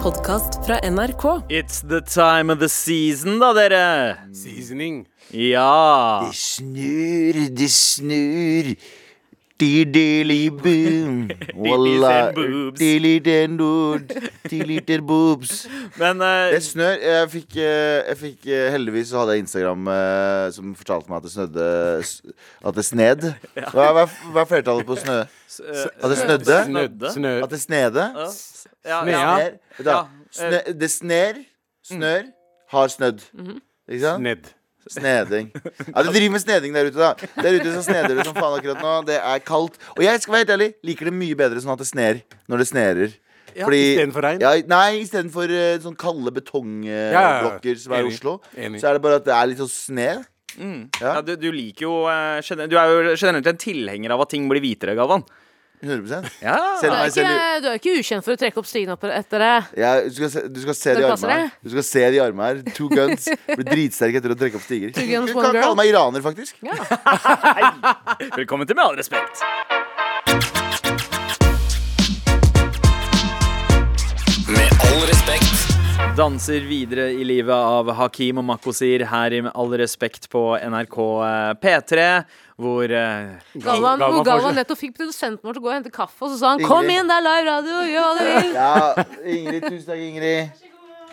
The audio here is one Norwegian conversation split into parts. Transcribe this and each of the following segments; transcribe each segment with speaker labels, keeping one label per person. Speaker 1: podkast fra NRK.
Speaker 2: It's the time of the season, da, dere.
Speaker 3: Seasoning.
Speaker 2: Ja.
Speaker 4: Snur, de snur Tiddelibum
Speaker 2: Walla, boobs.
Speaker 4: Tiddelidendod Tiddelidendboobs
Speaker 2: Men eh,
Speaker 4: Det snør, jeg fikk, eh, jeg fikk eh, Heldigvis så hadde jeg Instagram eh, Som fortalte meg at det snødde s- At det sned Hva hva- hva er flertallet på snø?
Speaker 2: s- eh,
Speaker 4: At det snødde?
Speaker 2: Snødde?
Speaker 3: Snø.
Speaker 4: At det snede?
Speaker 2: ja, ja, ja.
Speaker 3: Snea.
Speaker 4: Sner, vet du
Speaker 2: Ja,
Speaker 4: hva?
Speaker 2: eh.
Speaker 4: Sne, det sner, snør, har snødd.
Speaker 2: Mhm.
Speaker 4: Ikke sant?
Speaker 3: Ned.
Speaker 4: Sneding. Ja, Det driver med sneding der ute, da. Der ute så sneder det som faen akkurat nå. Det er kaldt. Og jeg skal være helt ærlig, liker det mye bedre sånn at det sner når det snerer. Fordi-
Speaker 3: istedenfor regn.
Speaker 4: Ja, nei, istedenfor uh, sånn kalde betongblokker
Speaker 3: ja, ja.
Speaker 4: som er i
Speaker 3: Enig.
Speaker 4: Oslo.
Speaker 3: Enig.
Speaker 4: Så er det bare at det er litt sånn sne. Ja.
Speaker 2: Ja, du, du liker jo eh, gener- Du er jo generelt en tilhenger av at ting blir hvitere, Galvan.
Speaker 4: 100
Speaker 2: Ja.
Speaker 1: Du
Speaker 4: Selv om
Speaker 1: er,
Speaker 4: jeg selv
Speaker 1: ikke, du er ikke ukjent for å trekke opp stigen opp etter det.
Speaker 4: ja, du, skal se, du skal se
Speaker 1: Det
Speaker 4: de
Speaker 1: passer
Speaker 4: armene her.
Speaker 1: det.
Speaker 4: Du skal se de armene her. Two guns. Blir dritsterk etter å trekke opp stiger. Du
Speaker 1: guns,
Speaker 4: kan
Speaker 1: one girl.
Speaker 4: kalle meg iraner, faktisk.
Speaker 2: Velkommen til Med all respekt.
Speaker 5: Med all respekt.
Speaker 2: Danser videre i livet av Hakim og Makosir her i Med all respekt på NRK eh, P3, hvor eh,
Speaker 1: Galvan,
Speaker 3: Galvan
Speaker 1: hvor Galvan
Speaker 3: fortsatt-
Speaker 1: nettopp fikk produsenten vår til å gå og hente kaffe, og så sa han
Speaker 4: Ingrid.
Speaker 1: 'Kom inn, det er live radio, gjør hva du vil'.
Speaker 4: Ja, Ingrid, tusen takk, Ingrid.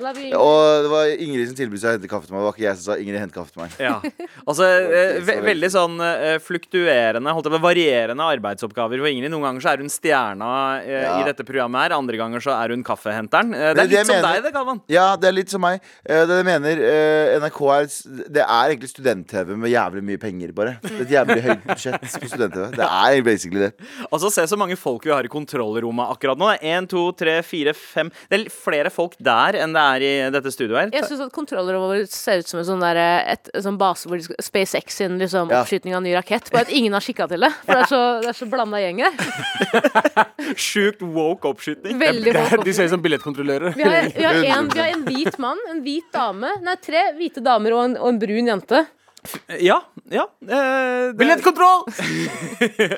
Speaker 1: La vi-
Speaker 4: Og det var Ingrid som tilbød seg å hente kaffe til meg. Det var ikke jeg som sa Ingrid, hent kaffe til meg.
Speaker 2: Ja. Altså, eh, ve veldig sånn eh, fluktuerende, holdt jeg på, å si, varierende arbeidsoppgaver for Ingrid. Noen ganger så er hun stjerna eh,
Speaker 4: Ja.
Speaker 2: i dette programmet her, andre ganger så er hun kaffehenteren. Eh, det
Speaker 4: Det er
Speaker 2: er litt
Speaker 4: det jeg
Speaker 2: som
Speaker 4: mener.
Speaker 2: deg, det, Galvan.
Speaker 4: Ja, det er litt som meg. Eh, Det jeg mener, eh, NRK er Det er egentlig student-TV med jævlig mye penger, bare. Det er Et jævlig høyt budsjett på student-TV. Det er basically det.
Speaker 2: Altså, se så mange folk vi har i kontrollrommet akkurat nå. Én, to, tre, fire, fem Det er flere folk der enn det er i dette studioet her.
Speaker 1: Jeg syns at kontrollrommet vårt ser ut som en sånn der, et, en sånn base hvor de skal- SpaceX sin liksom,
Speaker 4: Ja.
Speaker 1: oppskyting av ny rakett. Bare at ingen har kikka til det. For det er så, det er så blanda gjeng her.
Speaker 2: Sjukt woke oppskyting.
Speaker 1: Veldig
Speaker 3: Det er,
Speaker 1: folk
Speaker 3: de ser ut som billettkontrollører.
Speaker 1: Vi har, vi, har en, vi har en hvit mann, en hvit dame Nei, tre hvite damer og en, og en brun jente.
Speaker 2: Ja. ja eh, det, er,
Speaker 3: Billettkontroll!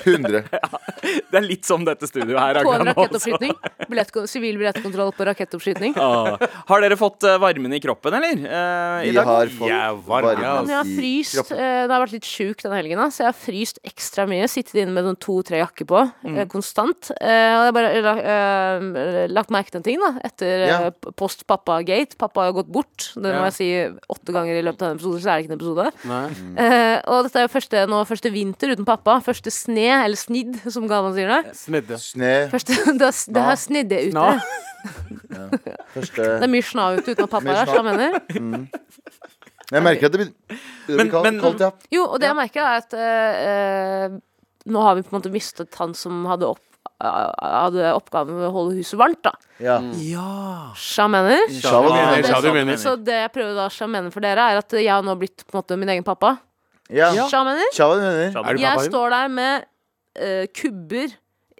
Speaker 4: 100.
Speaker 2: det er litt som dette studioet her
Speaker 1: På en
Speaker 2: akkurat nå. også.
Speaker 1: rakettoppskyting. Billett- Sivil billettkontroll på rakettoppskyting.
Speaker 2: Ah. Har dere fått eh, varmen i kroppen, eller? Eh, i
Speaker 4: Vi
Speaker 2: dag?
Speaker 4: har fått
Speaker 3: Jeg var-
Speaker 4: varme
Speaker 3: Ja,
Speaker 1: Men Altså, jeg har
Speaker 4: i
Speaker 1: fryst,
Speaker 4: kroppen.
Speaker 1: eh, det har vært litt sjuk denne helgen, da, så jeg har fryst ekstra mye. Sittet inne med sånn to-tre jakker på
Speaker 4: Mm.
Speaker 1: eh, konstant. Eh, og jeg har bare eh, la- eh, lagt merke til en ting, da, etter
Speaker 4: Ja.
Speaker 1: eh, p- post pappa-gate. Pappa har jo gått bort, det må
Speaker 3: Ja.
Speaker 1: jeg si åtte ganger i løpet av denne episoden, så er det ikke en episode.
Speaker 3: Nei.
Speaker 4: Mm.
Speaker 1: Eh, og dette er jo første, nå første vinter uten pappa. Første sne, eller snidd, som Galvan sier det.
Speaker 3: Snedde.
Speaker 4: Snø.
Speaker 1: Første, det har- det har snedd ute.
Speaker 3: Sna.
Speaker 4: Første
Speaker 1: Det er mye sna ute uten at pappa
Speaker 4: Mye
Speaker 1: er her, så
Speaker 4: sna.
Speaker 1: jeg mener.
Speaker 4: Jeg merker at det blir, det blir
Speaker 2: Men-
Speaker 4: kaldt,
Speaker 2: men-
Speaker 4: kaldt, ja.
Speaker 1: Jo, og det jeg merker er at eh, eh, nå har vi på en måte mistet han som hadde, opp, eh, hadde oppgaven med å holde huset varmt, da.
Speaker 4: ja. Ah.
Speaker 2: Ja.
Speaker 1: Sja mener.
Speaker 4: Shalom.
Speaker 3: Mener,
Speaker 1: det
Speaker 3: sa du
Speaker 2: sant.
Speaker 3: mener.
Speaker 1: Så det jeg prøver da å sja mener for dere, er at jeg har nå blitt på en måte min egen pappa.
Speaker 4: ja.
Speaker 1: Sja mener.
Speaker 4: Tja, hva du mener.
Speaker 3: Er du pappa
Speaker 1: Jeg
Speaker 3: din?
Speaker 1: står der med eh, kubber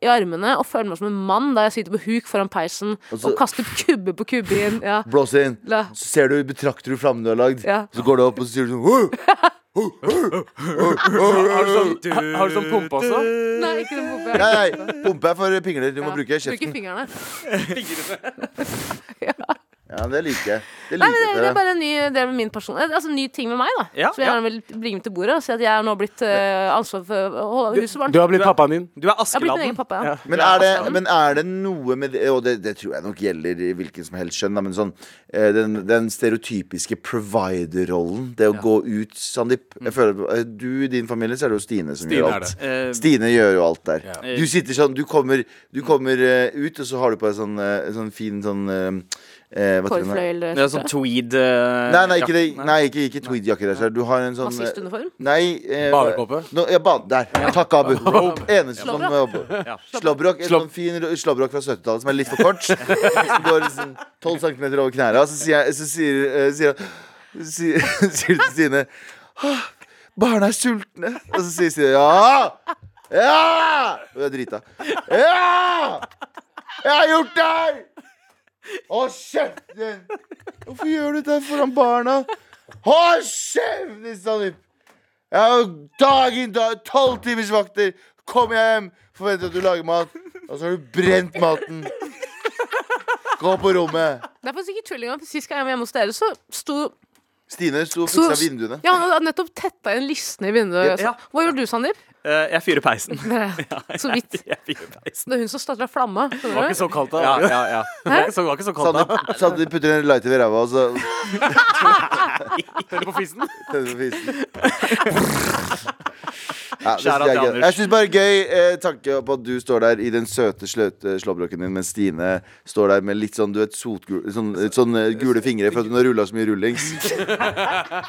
Speaker 1: i armene og føler meg som en mann da jeg sitter på huk foran peisen og,
Speaker 4: så-
Speaker 1: kaster kubbe på kubbe i en ja,
Speaker 4: Blås inn.
Speaker 1: la,
Speaker 4: Så ser du, betrakter du flammen du har lagd.
Speaker 1: ja.
Speaker 4: Så går du opp og så sier du sånn «Åh!»
Speaker 3: Har du sånn, har- har du sånn pumpe også?
Speaker 1: Nei, ikke den bomba.
Speaker 4: Nei, nei, pumpe er for pingler. Du må
Speaker 1: Ja.
Speaker 4: bruke kjeften.
Speaker 1: Bruke fingrene.
Speaker 4: Ja, det liker jeg. Det
Speaker 1: Nei, men det,
Speaker 4: liker
Speaker 1: det er
Speaker 4: jeg.
Speaker 1: bare en ny del av min person eh, Altså en ny ting med meg da
Speaker 2: Ja,
Speaker 1: Som jeg
Speaker 2: ja.
Speaker 1: gjerne vil bli med til bordet Og si at jeg er nå blitt eh, ansvar for å holde huset varmt
Speaker 3: Du
Speaker 1: Jeg
Speaker 3: har blitt pappaen din.
Speaker 2: Du er
Speaker 1: har blitt min
Speaker 2: Askeladden.
Speaker 1: egen pappa, ja,
Speaker 3: Ja.
Speaker 4: Men er, det, men er det noe med det Og det, det tror jeg nok gjelder i hvilken som helst skjønn, da, men sånn eh, den, den stereotypiske provider-rollen. Det å gå ut, Sandeep. Jeg føler, eh, du i din familie, så er det jo Stine som
Speaker 3: Stine
Speaker 4: gjør
Speaker 3: er
Speaker 4: alt.
Speaker 3: det.
Speaker 2: Eh,
Speaker 4: Stine gjør jo alt der.
Speaker 3: Ja.
Speaker 4: Du sitter sånn, du kommer, du kommer eh, ut, og så har du på deg sånn, eh, sånn fin sånn eh, eh, Hva heter den?
Speaker 1: Kårfløyel
Speaker 2: det er sånn tweed eh,
Speaker 4: Nei, nei, ikke, det,
Speaker 2: jakke.
Speaker 4: nei, ikke, ikke tweed-jakke der. så Du har en sånn eh,
Speaker 1: Nazistuniform
Speaker 4: Nei eh,
Speaker 3: Badekåpe?
Speaker 4: Nå, ja, ba der. Takk, Abu. Eneste som
Speaker 2: Ja.
Speaker 4: Slåbrok. En
Speaker 3: Slåb-
Speaker 4: sånn fin ro- slåbrok fra 70-tallet som er litt for kort. Som går liksom 12 cm over knærne. Så sier, jeg, så sier, eh, sier, han- sier, sier til Stine «Åh, Barna er sultne. Og så sier Stine ja! Ja! Hun er drita. Ja! Jeg har gjort det her! Å, kjeften! Hvorfor gjør du det foran barna? Hold kjeft, Sandeep! Jeg har jo dag inn dag, tolv timers vakter. Kom jeg hjem, forventer at du lager mat, og så har du brent maten. Gå på rommet.
Speaker 1: Det er faktisk ikke tulling. engang, for Sist gang jeg var hjemme hos dere, så sto
Speaker 4: Stine sto og
Speaker 1: Så-
Speaker 4: fiksa vinduene.
Speaker 1: Ja, han hadde nettopp tetta igjen listene i vinduet.
Speaker 2: Ja.
Speaker 1: altså. Hva gjorde du, Sandeep?
Speaker 2: Eh, jeg fyrer peisen.
Speaker 1: Så vidt.
Speaker 2: Jeg fyrer peisen.
Speaker 1: Det er hun som starta flamma.
Speaker 3: Det var ikke så kaldt da. Ja, ja, ja. Det var ikke så, det var ikke så kaldt da.
Speaker 4: Sandeep Sandeep putter en lighter ved ræva, og så
Speaker 3: Tenne på fissen.
Speaker 4: tenner på fisen. Ja, det
Speaker 2: Skjæra
Speaker 4: synes jeg,
Speaker 2: til
Speaker 4: er gøy.
Speaker 2: Anders.
Speaker 4: jeg syns bare gøy eh, tanke på at du står der i den søte sløte slåbroken din, mens Stine står der med litt sånn du vet, sotgul, sånn, litt sånn eh, gule fingre for at hun har rulla så mye rullings.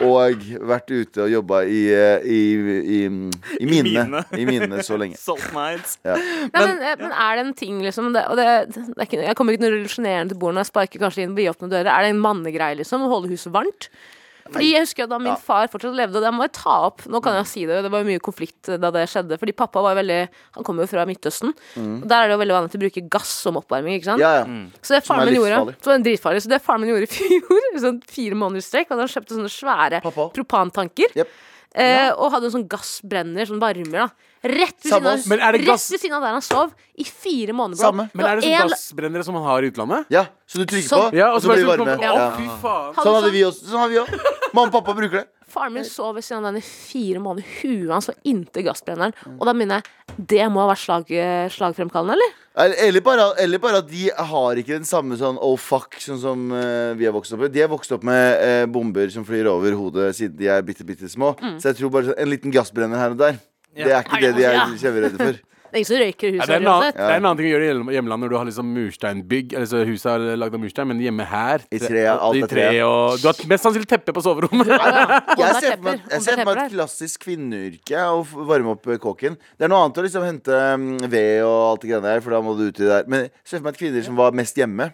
Speaker 4: Og vært ute og jobba i, eh, i, i, mm, i, minene. I minene så lenge.
Speaker 2: Salt nights.
Speaker 1: Nei, men, eh, men er det en ting, liksom det, og det, det er ikke, Jeg kommer ikke til å revolusjonere til bordet når jeg sparker kanskje inn vidåpne dører. Er det en mannegreie, liksom? Å holde huset varmt? Fordi jeg husker at Da min
Speaker 4: Ja.
Speaker 1: far fortsatt levde, og det må jeg ta opp Nå kan jeg si det, det var jo mye konflikt da det skjedde. Fordi pappa var veldig Han kommer jo fra Midtøsten. Og Der er det jo veldig vanlig til å bruke gass som oppvarming. ikke sant?
Speaker 4: Ja, ja.
Speaker 1: Så det
Speaker 4: Som er
Speaker 1: faren min gjorde
Speaker 4: livsfarlig.
Speaker 1: Så det er dritfarlig Så det faren min gjorde i fjor i Sånn fire måneder i strekk Hadde han kjøpte sånne svære
Speaker 4: Pappa.
Speaker 1: propantanker
Speaker 4: Jep.
Speaker 1: eh, Og hadde en sånn gassbrenner Som varmer da Rett ved
Speaker 4: Samme
Speaker 1: siden av,
Speaker 4: oss.
Speaker 3: Men er det
Speaker 1: rett
Speaker 3: gass-
Speaker 1: ved siden av der han sov I fire måneder bro.
Speaker 4: Samme.
Speaker 1: Det
Speaker 3: Men
Speaker 1: var
Speaker 3: er det sånn
Speaker 1: en-
Speaker 3: gassbrennere som man har i utlandet?
Speaker 4: Ja, så du trykker
Speaker 1: Sånn.
Speaker 4: på,
Speaker 3: Ja,
Speaker 4: og så blir det varme.
Speaker 3: kommer-
Speaker 4: Ja.
Speaker 3: Å, fy faen.
Speaker 1: hadde
Speaker 4: Sånn hadde
Speaker 1: sånn-
Speaker 4: vi også. Sånn har vi også. Mamma og pappa bruker det.
Speaker 1: Faren min sov ved siden av den i fire måneder Huet hans var inntil gassbrenneren
Speaker 4: Mm.
Speaker 1: Og da minner jeg Det må ha vært slag, eh, slagfremkallende, eller?
Speaker 4: Eller- Eller bare, eller bare at de har ikke den samme sånn oh fuck sånn som eh, vi har vokst opp med. De har vokst opp med eh, bomber som flyr over hodet siden de er bitte, bitte små.
Speaker 3: Mm.
Speaker 4: Så jeg tror bare sånn, en liten gassbrenner her og der. Det er ikke
Speaker 1: Er det
Speaker 4: det de er
Speaker 1: noe-
Speaker 4: kjemperedde for.
Speaker 1: Det er ingen som røyker i
Speaker 3: Ja,
Speaker 1: huset
Speaker 3: det, er en
Speaker 1: uansett.
Speaker 3: annen, det er en annen ting å gjøre i hjeml- hjemlandet når du har liksom mursteinbygg. Altså huset er lagd av murstein, men hjemme her
Speaker 4: I tre,
Speaker 3: i
Speaker 4: alt er
Speaker 3: tre,
Speaker 4: tre.
Speaker 3: og, Du har mest sannsynlig teppe på soverommet.
Speaker 1: Om
Speaker 4: Jeg
Speaker 1: det er
Speaker 4: ser
Speaker 1: tepper,
Speaker 4: for meg,
Speaker 1: om
Speaker 4: jeg
Speaker 1: det er
Speaker 4: ser for meg
Speaker 1: tepper
Speaker 4: et klassisk kvinneyrke er å f- varme opp eh, kåken. Det er noe annet å liksom hente mm, ved og alt det greiene der, for da må du uti der. Men jeg ser for meg at kvinner som var mest hjemme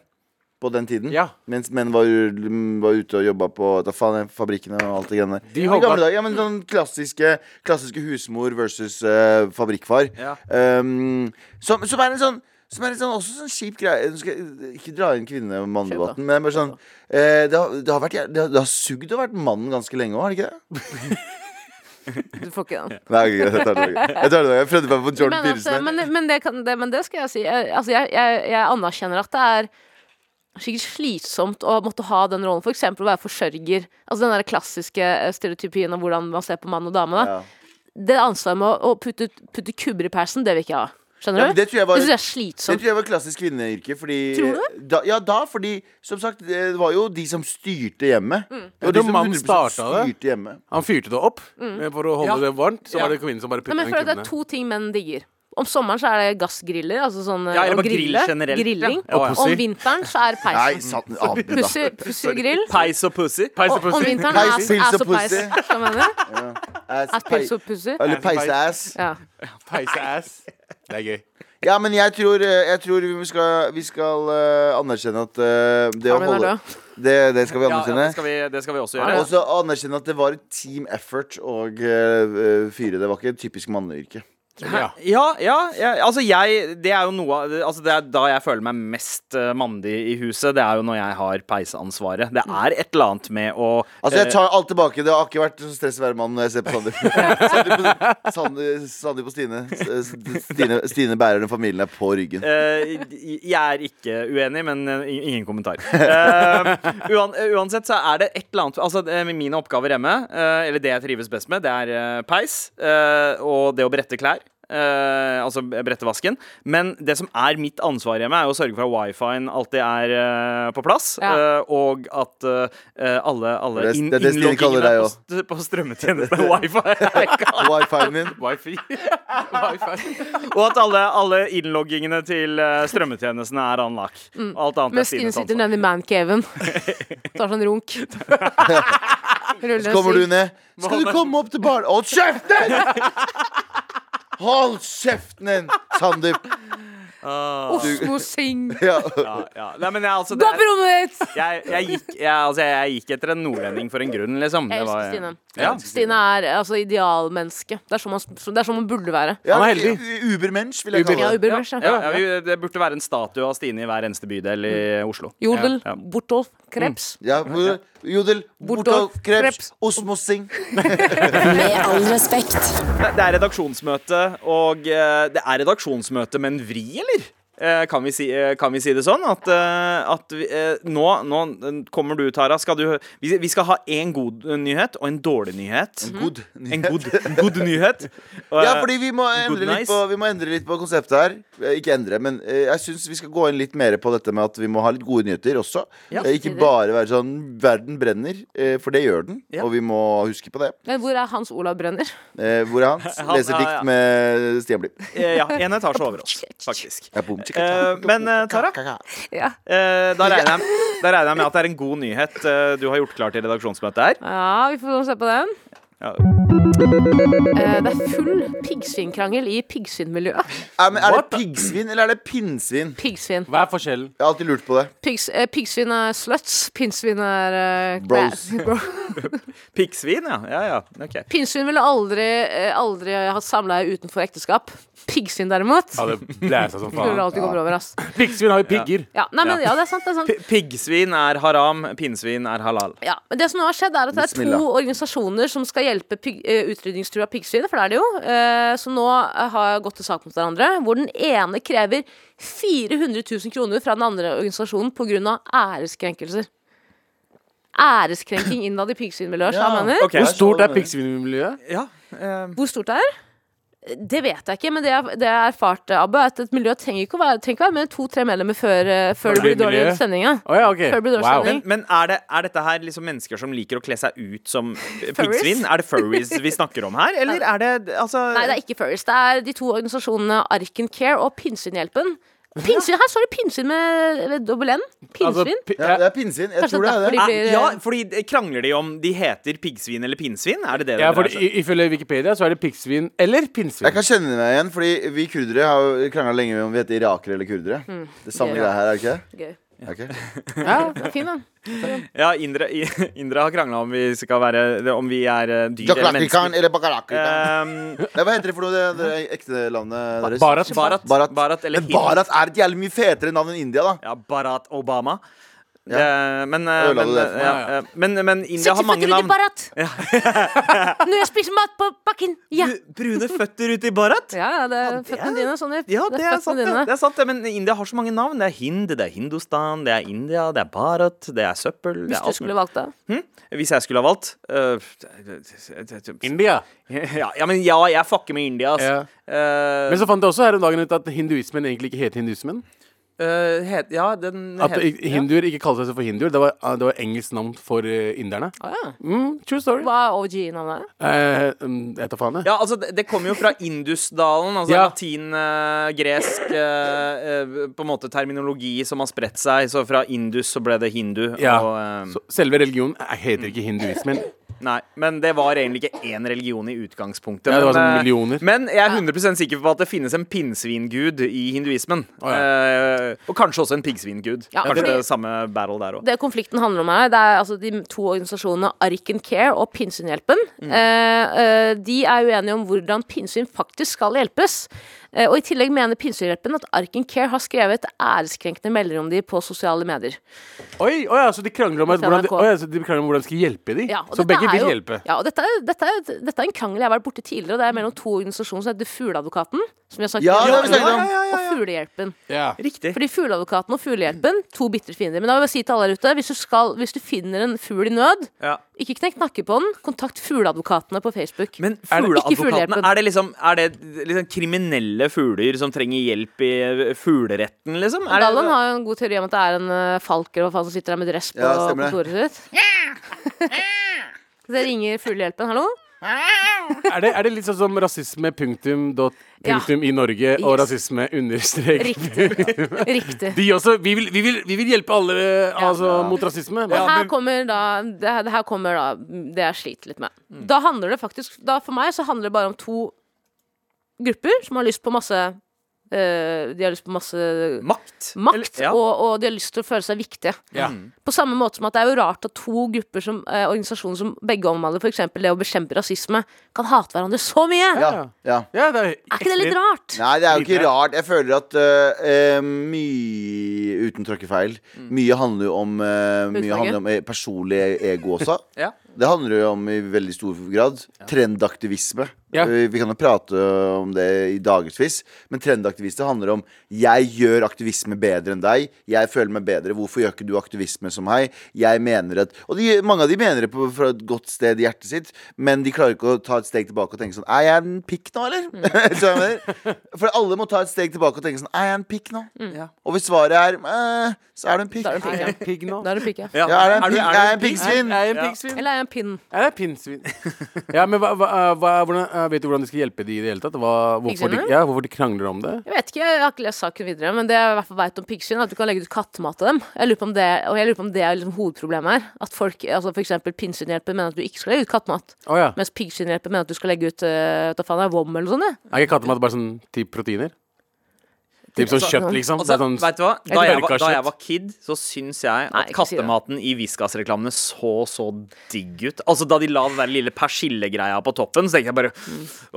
Speaker 4: på den tiden,
Speaker 3: Ja.
Speaker 4: mens menn var, mm, var ute og jobba på da faen, fabrikkene og alt det greiene der.
Speaker 3: De
Speaker 4: I
Speaker 3: hogga-
Speaker 4: gamle dager, ja, men sånn klassiske, klassiske husmor versus eh, fabrikkfar.
Speaker 2: Ja.
Speaker 4: Um, som, som er en sånn som er en sånn, også sånn kjip greie Nå skal jeg eh, Ikke dra inn kvinne-mann-debatten, men det er bare sånn eh, det, har, det, har vært, jæv- det, har, det har sugd å være mann ganske lenge òg, har det ikke det?
Speaker 1: Du får ikke den
Speaker 4: Nei, ok, jeg tar det tilbake. Jeg tar det tilbake. Jeg prøvde meg på Jordan
Speaker 1: men, altså,
Speaker 4: Peterson. her.
Speaker 1: men, men, det kan, det, men det skal jeg si. Jeg, altså, jeg, jeg, jeg anerkjenner at det er sikkert slitsomt å måtte ha den rollen. For eksempel å være forsørger. Altså den der klassiske eh, stereotypien om hvordan man ser på mann og dame. Da.
Speaker 4: Ja.
Speaker 1: Det ansvaret med å, å putte, putte kubber i persen, det vil ikke jeg ha.
Speaker 4: Ja,
Speaker 1: Skjønner
Speaker 4: men
Speaker 1: du?
Speaker 4: det tror jeg var
Speaker 1: det syns jeg er
Speaker 4: det
Speaker 1: slitsomt.
Speaker 4: tror jeg var klassisk kvinneyrke. Fordi,
Speaker 1: Tror du
Speaker 4: Da, ja, da, fordi som sagt, det var jo de som styrte
Speaker 1: Mm.
Speaker 4: hjemmet. Det
Speaker 3: Ja,
Speaker 4: var
Speaker 3: det
Speaker 4: de
Speaker 3: var
Speaker 4: som
Speaker 3: mannen
Speaker 4: 100
Speaker 3: starta det.
Speaker 4: styrte hjemmet.
Speaker 3: Han fyrte det opp eh, for å holde
Speaker 2: Ja.
Speaker 3: det varmt. Så
Speaker 2: Ja.
Speaker 3: var det kvinnen som bare
Speaker 1: Nei,
Speaker 3: putta
Speaker 1: Mm. men jeg
Speaker 3: den
Speaker 1: føler at det
Speaker 3: kubben
Speaker 1: er to ting menn digger. Om sommeren så er det gassgriller. Altså sånn, eh,
Speaker 2: Ja,
Speaker 1: å
Speaker 2: eller bare grill
Speaker 1: grille,
Speaker 2: generelt, ja.
Speaker 1: Grilling.
Speaker 2: Ja, ja.
Speaker 1: Om vinteren så er det
Speaker 4: Nei,
Speaker 1: peisen.
Speaker 4: satan. ah, men da.
Speaker 1: Pussy, pussy grill.
Speaker 2: Peis og pussy.
Speaker 3: Peis
Speaker 1: Og
Speaker 3: og
Speaker 1: om
Speaker 3: pussy.
Speaker 1: vinteren
Speaker 4: Peis,
Speaker 1: ass,
Speaker 4: pils
Speaker 1: ass
Speaker 4: og
Speaker 1: og peis.
Speaker 4: pussy.
Speaker 1: Hva mener du?
Speaker 4: Ass,
Speaker 1: Ass,
Speaker 4: pei-
Speaker 1: pils og pussy.
Speaker 4: Eller
Speaker 3: Ass, peis.
Speaker 4: peiseass.
Speaker 1: Ja.
Speaker 3: Peiseass. Det er gøy.
Speaker 4: Ja, men jeg tror, eh, jeg tror vi skal, vi skal eh, anerkjenne at eh, det å
Speaker 1: Armin er
Speaker 4: holde
Speaker 1: død.
Speaker 4: Det, det skal vi
Speaker 2: Ja, ja,
Speaker 4: anerkjenne.
Speaker 2: det, skal vi, det skal vi også
Speaker 4: Og
Speaker 2: gjøre.
Speaker 4: så anerkjenne at det var et team effort å eh, fyre. Det var ikke et typisk manneyrke.
Speaker 3: Ja.
Speaker 2: Ja, ja, ja altså jeg Det er jo noe av altså Det er da jeg føler meg mest eh, mandig i huset. Det er jo når jeg har peiseansvaret. Det er et eller annet med å
Speaker 4: Altså Jeg
Speaker 2: eh,
Speaker 4: tar alt tilbake. Det har ikke vært så stress å være mann når jeg ser på Sandeep. Sandeep og- Sandeep- Sandeep og Stine. S- Stine. Stine bærer den familien her på ryggen.
Speaker 2: Eh, jeg er ikke uenig, men eh, ingen kommentar. Eh, uan, uansett så er det et eller annet Altså det- Mine oppgaver hjemme, eh, eller det jeg trives best med, det er eh, peis eh, og det å brette klær. Eh, altså brette vasken. Men det som er mitt ansvar hjemme, er jo å sørge for at wifien alltid er eh, på plass.
Speaker 1: Ja.
Speaker 2: eh, og at eh, alle, alle
Speaker 4: Det er-
Speaker 2: inn,
Speaker 4: det er det Stine kaller
Speaker 2: innloggingene
Speaker 4: deg
Speaker 2: på, st- på strømmetjenesten og wifi
Speaker 4: Wifi-en min.
Speaker 3: Wifi. Wifi.
Speaker 2: og at alle, alle innloggingene til eh, strømmetjenestene er unlock. Alt annet
Speaker 1: Men Mm.
Speaker 2: er
Speaker 1: Stine
Speaker 2: Stines
Speaker 1: sitter
Speaker 2: ansvar.
Speaker 1: nede i mancaven. Tar sånn runk. Ruller
Speaker 4: Så kommer du
Speaker 1: seg.
Speaker 4: ned. Skal du komme opp til barn... Hold kjeften! Hold kjeften din, Sandeep.
Speaker 1: Osmo Sing.
Speaker 4: Ja.
Speaker 2: Ja, ja. Nei, men jeg, altså,
Speaker 1: Gå
Speaker 2: det,
Speaker 1: opp i rommet ditt!
Speaker 2: jeg, jeg, gikk, jeg, altså, jeg gikk etter en nordlending for en grunn, liksom.
Speaker 1: Jeg
Speaker 2: Det var-
Speaker 1: elsker Stine.
Speaker 2: Ja.
Speaker 1: Stine er altså idealmenneske. Det er sånn man, det er sånn man burde være.
Speaker 4: Ja,
Speaker 3: Han er heldig.
Speaker 4: Ubermensch, vil jeg
Speaker 1: Ja,
Speaker 3: Uber-
Speaker 4: kalle det.
Speaker 1: Ubermensch,
Speaker 2: Ja,
Speaker 1: ja.
Speaker 2: ja, vi- det burde være en statue av Stine i hver eneste bydel i
Speaker 1: Mm.
Speaker 2: Oslo.
Speaker 1: Jodel,
Speaker 2: Ja.
Speaker 1: Bortolf, Krebs.
Speaker 4: Ja, hvor- Jodel, Bortolf, Krebs, Osmo Singh.
Speaker 6: Med all respekt.
Speaker 2: Det det er redaksjonsmøte, og eh, det er redaksjonsmøte med en vri, eller? Eh, kan, vi si, eh, kan vi si det sånn? At, eh, at vi, eh, nå, nå eh, kommer du, Tara. Skal du, vi, vi skal ha én god eh, nyhet og en dårlig nyhet.
Speaker 1: Mhm.
Speaker 4: God
Speaker 2: En
Speaker 4: nyhet.
Speaker 2: god, en god nyhet. Og,
Speaker 4: Ja,
Speaker 2: eh,
Speaker 4: fordi vi må, endre
Speaker 2: nice.
Speaker 4: litt på, vi må endre litt på konseptet her. Eh, Ikke endre, men eh, jeg syns vi skal gå inn litt mer på dette med at vi må ha litt gode nyheter også.
Speaker 2: Ja.
Speaker 4: Eh, Ikke bare være sånn 'verden brenner', eh, for det gjør den,
Speaker 2: Ja.
Speaker 4: og vi må huske på det.
Speaker 1: Men hvor er Hans Olav Brenner?
Speaker 4: Eh, Hvor er han?
Speaker 2: Han-
Speaker 4: Leser
Speaker 2: ja, ja.
Speaker 4: dikt med Stian Blipp.
Speaker 2: eh, ja, en etasje over oss, faktisk.
Speaker 4: Jeg er bom, tjekka,
Speaker 2: Eh, men eh, Tara,
Speaker 4: tjekka.
Speaker 1: Ja.
Speaker 2: eh, da, regner jeg, da regner jeg med at det er en god nyhet eh, du har gjort klar til redaksjonsmøtet her.
Speaker 1: ja, vi får se på den.
Speaker 2: Ja.
Speaker 1: Eh, det er full piggsvinkrangel i piggsvinmiljøet.
Speaker 4: Er, men er det piggsvin eller er det pinnsvin?
Speaker 1: Piggsvin.
Speaker 3: Hva er forskjellen?
Speaker 4: Jeg har alltid lurt på det.
Speaker 1: Piggs, eh, piggsvin er sluts. Pinnsvin er eh,
Speaker 4: Bros.
Speaker 1: bra- bro.
Speaker 2: Piggsvin, ja. ja, ja. ok.
Speaker 1: Pinnsvin ville aldri, eh, aldri ha samleie utenfor ekteskap. Piggsvin derimot
Speaker 3: Ja, det blæsa som
Speaker 1: tror det
Speaker 3: faen.
Speaker 1: alltid kommer over oss.
Speaker 3: Piggsvin har jo pigger.
Speaker 1: Ja, nei, men, ja, det er sant. det er sant
Speaker 2: P- Piggsvin er haram, pinnsvin er halal.
Speaker 1: ja, men det som nå har skjedd er at det er to
Speaker 4: Bismillah.
Speaker 1: organisasjoner som skal hjelpe pig, eh, utrydningstrua piggsvin, for det er det jo, eh, som nå eh, har gått til sak mot hverandre. Hvor den ene krever 400 000 kroner fra den andre organisasjonen pga. æreskrenkelser. Æreskrenking innad i piggsvinmiljøet, sa
Speaker 4: Ja,
Speaker 1: han mener.
Speaker 2: ok.
Speaker 3: Hvor stort er piggsvinmiljøet?
Speaker 2: Ja, eh,
Speaker 1: Hvor stort det er? Det vet jeg ikke, men det jeg, det jeg erfarte, Abbe, er at et miljø trenger ikke å være, trenger ikke være mer enn to-tre medlemmer før, eh, før det
Speaker 3: blir
Speaker 1: blir dårlig
Speaker 3: miljø.
Speaker 1: stemning. ja.
Speaker 3: Å ja, ok.
Speaker 1: Furby dør
Speaker 3: Wow.
Speaker 1: sending.
Speaker 2: men, men er, det, er dette her liksom mennesker som liker å kle seg ut som piggsvin? Er det furries vi snakker om her, eller er det altså
Speaker 1: Nei, det er ikke Furries. Det er de to organisasjonene Arken Care og Pinnsvinhjelpen. Pinnsvin, Her står det pinnsvin med, med dobbel N.
Speaker 3: Altså,
Speaker 1: Pinnsvin.
Speaker 3: pi-
Speaker 4: Ja,
Speaker 3: jeg-
Speaker 4: det er pinnsvin. Jeg
Speaker 1: Kanskje
Speaker 4: tror det
Speaker 1: derfor
Speaker 4: er det.
Speaker 1: de
Speaker 2: Er-
Speaker 1: blir
Speaker 2: Ja, fordi de- krangler de om de heter piggsvin eller pinnsvin? Er det det
Speaker 3: Ja,
Speaker 2: det
Speaker 3: for
Speaker 2: dreier seg om?
Speaker 3: i- Ifølge Wikipedia så er det piggsvin eller
Speaker 4: Jeg
Speaker 3: pinnsvin.
Speaker 4: kan kjenne meg igjen, fordi vi kurdere har jo krangla lenge om vi heter irakere eller kurdere. Det samme
Speaker 1: Ja.
Speaker 4: greia her, er det ikke det?
Speaker 1: Gøy.
Speaker 4: Ok.
Speaker 1: Ja, det er fin, den.
Speaker 2: Ja, indre, i- indre har krangla om vi skal være Om vi er eh, dyr eller
Speaker 4: Jaklakrikan
Speaker 2: mennesker.
Speaker 4: eller bakarakikan.
Speaker 2: Um,
Speaker 4: Nei, Hva heter det for noe, det, det er ekte navnet deres?
Speaker 3: Barat.
Speaker 2: Barat.
Speaker 4: Barat.
Speaker 2: Barat eller
Speaker 4: Men
Speaker 2: Hind.
Speaker 4: Barat er et jævlig mye fetere navn enn India, da.
Speaker 2: Ja, Barat Obama.
Speaker 4: Ja.
Speaker 2: Eh, men, eh,
Speaker 4: ødela
Speaker 2: men,
Speaker 4: du det for
Speaker 2: eh,
Speaker 3: meg,
Speaker 2: ja, eh, men, men India har mange
Speaker 1: ut i
Speaker 2: navn.
Speaker 1: Barat! Når jeg spiser mat på bakken! Ja!
Speaker 2: Bru- Brune føtter ute i Barat?
Speaker 1: Ja, ja, det er føttene dine. Sånn,
Speaker 2: Ja, det er,
Speaker 1: føttene
Speaker 2: sant, det.
Speaker 1: dine.
Speaker 2: det er sant det. Men India har så mange navn. Det er Hind, det er Hindustan, det er India, det er Barat, det er søppel. Det
Speaker 1: Hvis
Speaker 2: er
Speaker 1: du
Speaker 2: alt
Speaker 1: skulle valgt
Speaker 2: mulig.
Speaker 1: det.
Speaker 2: Hvis jeg skulle ha valgt eh,
Speaker 3: India.
Speaker 2: ja, ja, men ja, jeg fucker med India, altså.
Speaker 3: Ja.
Speaker 2: Eh,
Speaker 3: Men så fant jeg også her om dagen ut at hinduismen egentlig ikke heter hinduismen.
Speaker 2: eh, het, ja, den
Speaker 3: At
Speaker 2: het-
Speaker 3: i- hinduer ikke kalte seg selv for hinduer. Det var, ah, det var engelsk navn for eh, inderne.
Speaker 1: Å, ja.
Speaker 3: Mm, true story.
Speaker 1: Hva er OG-navnet?
Speaker 3: Eh, mm, jeg tar faen, jeg.
Speaker 2: Ja, altså, det, det kommer jo fra Indusdalen, altså
Speaker 3: Ja.
Speaker 2: latin, eh, gresk eh, eh, På en måte terminologi som har spredt seg. Så fra Indus så ble det hindu.
Speaker 3: Ja.
Speaker 2: Og, eh,
Speaker 3: Så selve religionen eh, heter ikke hinduismen.
Speaker 2: nei, men det var egentlig ikke én religion i utgangspunktet.
Speaker 3: Ja, det
Speaker 2: men,
Speaker 3: var sånn
Speaker 2: eh,
Speaker 3: millioner.
Speaker 2: men jeg er 100 sikker på at det finnes en pinnsvingud i hinduismen.
Speaker 3: Å, ja.
Speaker 2: Eh, og kanskje også en piggsvingud.
Speaker 1: Ja,
Speaker 2: kanskje
Speaker 1: fordi-
Speaker 2: det samme battle der òg.
Speaker 1: Det konflikten handler om her, det er altså de to organisasjonene Arken Care og Pinnsvinhjelpen.
Speaker 4: Mm.
Speaker 1: Eh, eh, de er uenige om hvordan pinnsvin faktisk skal hjelpes. Eh, og i tillegg mener Pinnsvinhjelpen at Arken Care har skrevet æreskrenkende meldinger om de på sosiale medier.
Speaker 3: Oi, oi, ja, så de krangler om, at
Speaker 1: Fra
Speaker 3: hvordan de,
Speaker 1: NRK.
Speaker 3: oi, ja, så de krangler om hvordan de skal hjelpe de.
Speaker 1: Ja, og
Speaker 3: så
Speaker 1: dette
Speaker 3: begge
Speaker 1: er
Speaker 3: vil
Speaker 1: jo-
Speaker 3: hjelpe.
Speaker 1: Ja, og dette er, dette, er, dette er en krangel jeg har vært borti tidligere, og det er mellom to organisasjoner som heter Fugleadvokaten, som vi har snakket
Speaker 4: Ja, det har vi
Speaker 1: om,
Speaker 4: snakket om.
Speaker 1: og Fuglehjelpen.
Speaker 3: Ja.
Speaker 2: Riktig.
Speaker 1: Fordi Fugleadvokaten og Fuglehjelpen, to bitre fiender. Men da vil jeg bare si til alle der ute, hvis du, skal, hvis du finner en fugl i nød,
Speaker 2: Ja.
Speaker 1: ikke knekk nakke på den, kontakt fugleadvokatene på Facebook.
Speaker 2: Men
Speaker 1: Er det- ikke
Speaker 2: fugleadvokatene,
Speaker 1: fuglehjelpen.
Speaker 2: er det liksom Er det liksom kriminelle fugler som trenger hjelp i fugleretten, liksom? Er
Speaker 1: Gallen
Speaker 2: det,
Speaker 1: har jo en god teori om at det er en eh, falker eller hva faen som sitter der med dress på
Speaker 4: Ja, stemmer det.
Speaker 1: kontoret sitt. Så det ringer Fuglehjelpen, hallo?
Speaker 3: Er, det, er det litt sånn som rasisme punktum dot
Speaker 1: Ja.
Speaker 3: punktum i Norge og
Speaker 1: Yes.
Speaker 3: rasisme understrek
Speaker 1: Riktig. Riktig.
Speaker 3: De også. Vi vil, vi vil, vi vil hjelpe alle eh, altså, mot rasisme.
Speaker 1: Og her
Speaker 3: men-
Speaker 1: kommer da det, her- det her kommer da det jeg sliter litt med.
Speaker 2: Mm.
Speaker 1: Da handler det faktisk da For meg så handler det bare om to grupper som har lyst på masse eh, De har lyst på masse
Speaker 2: makt?
Speaker 1: makt,
Speaker 2: Eller- ja.
Speaker 1: og, og de har lyst til å føle seg viktige.
Speaker 3: Ja.
Speaker 1: På samme måte som at det er jo rart at to grupper som eh, organisasjoner som begge omhandler f.eks. det å bekjempe rasisme, kan hate hverandre så mye.
Speaker 4: Ja, ja.
Speaker 3: ja, det er,
Speaker 1: Er ikke det litt rart?
Speaker 4: Nei, det er jo ikke
Speaker 3: Videre.
Speaker 4: rart. Jeg føler at øh, øh, mye Uten tråkkefeil. Mye handler jo om, øh, mye
Speaker 1: Hudfarge.
Speaker 4: handler om eh, personlig ego også.
Speaker 2: Ja.
Speaker 4: Det handler jo om i veldig stor grad trendaktivisme.
Speaker 3: Ja.
Speaker 4: Eh, Vi kan jo prate om det i dagevis, men trendaktivister handler om jeg gjør aktivisme bedre enn deg. Jeg føler meg bedre. Hvorfor gjør ikke du aktivisme som meg? Jeg mener at Og de, mange av de mener det på, fra et godt sted i hjertet sitt, men de klarer ikke å ta et steg tilbake og tenke sånn Er jeg en pikk nå, eller? Skjønner du hva jeg mener? For alle må ta et steg tilbake og tenke sånn Er jeg en pikk nå?
Speaker 2: Ja.
Speaker 4: Og hvis svaret er eh, så er du en pikk.
Speaker 1: Da er det en pikk,
Speaker 3: Pigg nå.
Speaker 1: ja. Da er det en pikk, ja.
Speaker 2: Ja.
Speaker 4: Ja, er det en
Speaker 2: Er du-
Speaker 4: pigg-
Speaker 2: er du
Speaker 4: er jeg
Speaker 2: en
Speaker 4: en
Speaker 2: pigg?
Speaker 4: piggsvin?
Speaker 3: Er jeg en
Speaker 2: Ja.
Speaker 3: piggsvin?
Speaker 1: Eller er jeg en pinn?
Speaker 3: Er det pinnsvin? ja, men hva, hva, hva, hvordan, eh, Vet du hvordan du skal hjelpe de i det hele tatt? Hva, hvorfor, de,
Speaker 1: Piggsvinene?
Speaker 3: ja, hvorfor de krangler om det?
Speaker 1: Jeg vet ikke, jeg har ikke lest saken videre, men det jeg i hvert fall vet om piggsvin, er at du kan legge ut kattemat til dem. Jeg lurer på om det, og jeg lurer på om det er liksom hovedproblemet her. At folk, altså for eksempel pinnsvinhjelper mener at du ikke skal legge ut kattemat,
Speaker 3: Å ja.
Speaker 1: mens piggsvinhjelper mener at du skal legge ut uh, da faen er det, vom eller noe sånt. ja.
Speaker 3: Er ikke kattemat bare sånn typ proteiner? Typ sånn kjøtt, liksom?
Speaker 2: Altså,
Speaker 3: det er sånn,
Speaker 2: vet du hva? Da jeg,
Speaker 3: Jeg
Speaker 2: var,
Speaker 3: tørker
Speaker 2: da
Speaker 3: kjøtt.
Speaker 2: jeg var kid, så syns jeg
Speaker 1: Nei,
Speaker 2: at
Speaker 1: ikke si det.
Speaker 2: kattematen i Whiskas-reklamene så så digg ut. Altså Da de la den der lille persillegreia på toppen, så tenkte jeg bare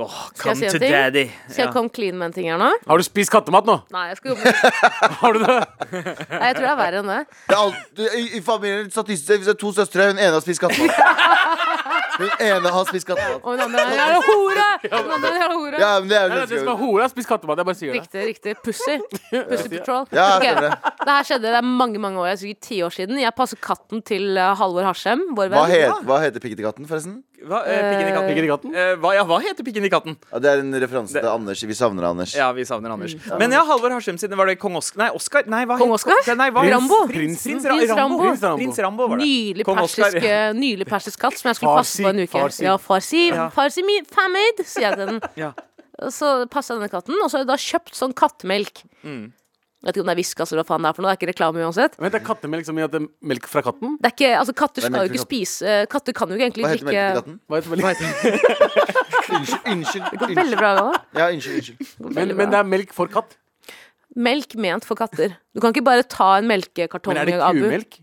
Speaker 2: Åh,
Speaker 1: Skal jeg si
Speaker 2: come
Speaker 1: en
Speaker 2: to
Speaker 1: ting?
Speaker 2: daddy.
Speaker 1: Skal jeg
Speaker 2: Ja.
Speaker 1: komme clean med en ting her nå?
Speaker 3: har du spist kattemat nå?
Speaker 1: Nei, jeg skal jobbe
Speaker 3: Har du det?
Speaker 1: Nei, jeg tror det er verre enn det.
Speaker 4: Det er alt, du, i, I familien statistisk sett, hvis det er to søstre, hun ene har spist kattemat. Hun ene har spist kattemat.
Speaker 1: Og den andre er en jævla hore! Den andre er en jævla hore.
Speaker 4: Ja, men det er
Speaker 3: Nei,
Speaker 4: jo
Speaker 3: nei, det
Speaker 4: det
Speaker 3: som er hore, har spist kattemat. Jeg bare sier det.
Speaker 1: Riktig, riktig. Pussy. Pussy Patrol.
Speaker 4: Ja,
Speaker 1: Ok,
Speaker 4: jeg stemmer det.
Speaker 1: Det her skjedde det er mange mange år, sikkert ti år siden. Jeg passet katten til eh, Halvor Harsem, vår
Speaker 4: hva,
Speaker 1: venn.
Speaker 4: het, hva heter piggdekatten, forresten?
Speaker 2: Hva, eh, pikken i katten?
Speaker 3: Piggen i katten?
Speaker 2: Eh, hva, ja, hva heter pikken i katten?
Speaker 4: Ja, det er en referanse til Anders. Vi savner Anders.
Speaker 2: Ja, vi savner Anders. Men ja, Halvor Harsem sine var det kong Oskar Nei, Oskar? Nei, hva
Speaker 1: Kong
Speaker 2: het-
Speaker 1: Oscar?
Speaker 2: Nei, hva-
Speaker 1: Prins- Rambo?
Speaker 2: Prins,
Speaker 1: Prins
Speaker 2: prins, Rambo.
Speaker 1: Rambo.
Speaker 2: Prins Rambo. Prins Rambo var det.
Speaker 1: Nydelig
Speaker 2: Kong Oscar.
Speaker 1: persisk, eh, nydelig persisk katt som jeg skulle
Speaker 3: Far
Speaker 1: passe på en
Speaker 3: si,
Speaker 1: uke.
Speaker 3: far si.
Speaker 1: Ja, far si,
Speaker 2: Ja.
Speaker 1: far si mi famed, sier jeg til den.
Speaker 2: Ja.
Speaker 1: Og Så passet jeg denne katten, og så har jeg da kjøpt sånn kattemelk.
Speaker 4: Mm.
Speaker 1: Jeg vet ikke om det er Viskas eller hva faen det er for noe, det er ikke reklame uansett.
Speaker 3: Vent, det er kattemelk som i at det er melk fra katten?
Speaker 1: Det er ikke, altså Katter
Speaker 4: Det er
Speaker 1: skal jo
Speaker 4: melk
Speaker 1: ikke
Speaker 4: for
Speaker 1: spise eh, Katter kan jo ikke egentlig
Speaker 4: Hva heter
Speaker 1: drikke
Speaker 4: melkekatten?
Speaker 3: Hva heter melk?
Speaker 4: Unnskyld. unnskyld, unnskyld.
Speaker 1: Veldig bra, Galvan.
Speaker 4: Ja, unnskyld, unnskyld.
Speaker 3: Men, men det er melk for katt.
Speaker 1: Melk ment for katter. Du kan ikke bare ta en melkekartong.
Speaker 3: Men er det
Speaker 1: Abu.
Speaker 3: kumelk?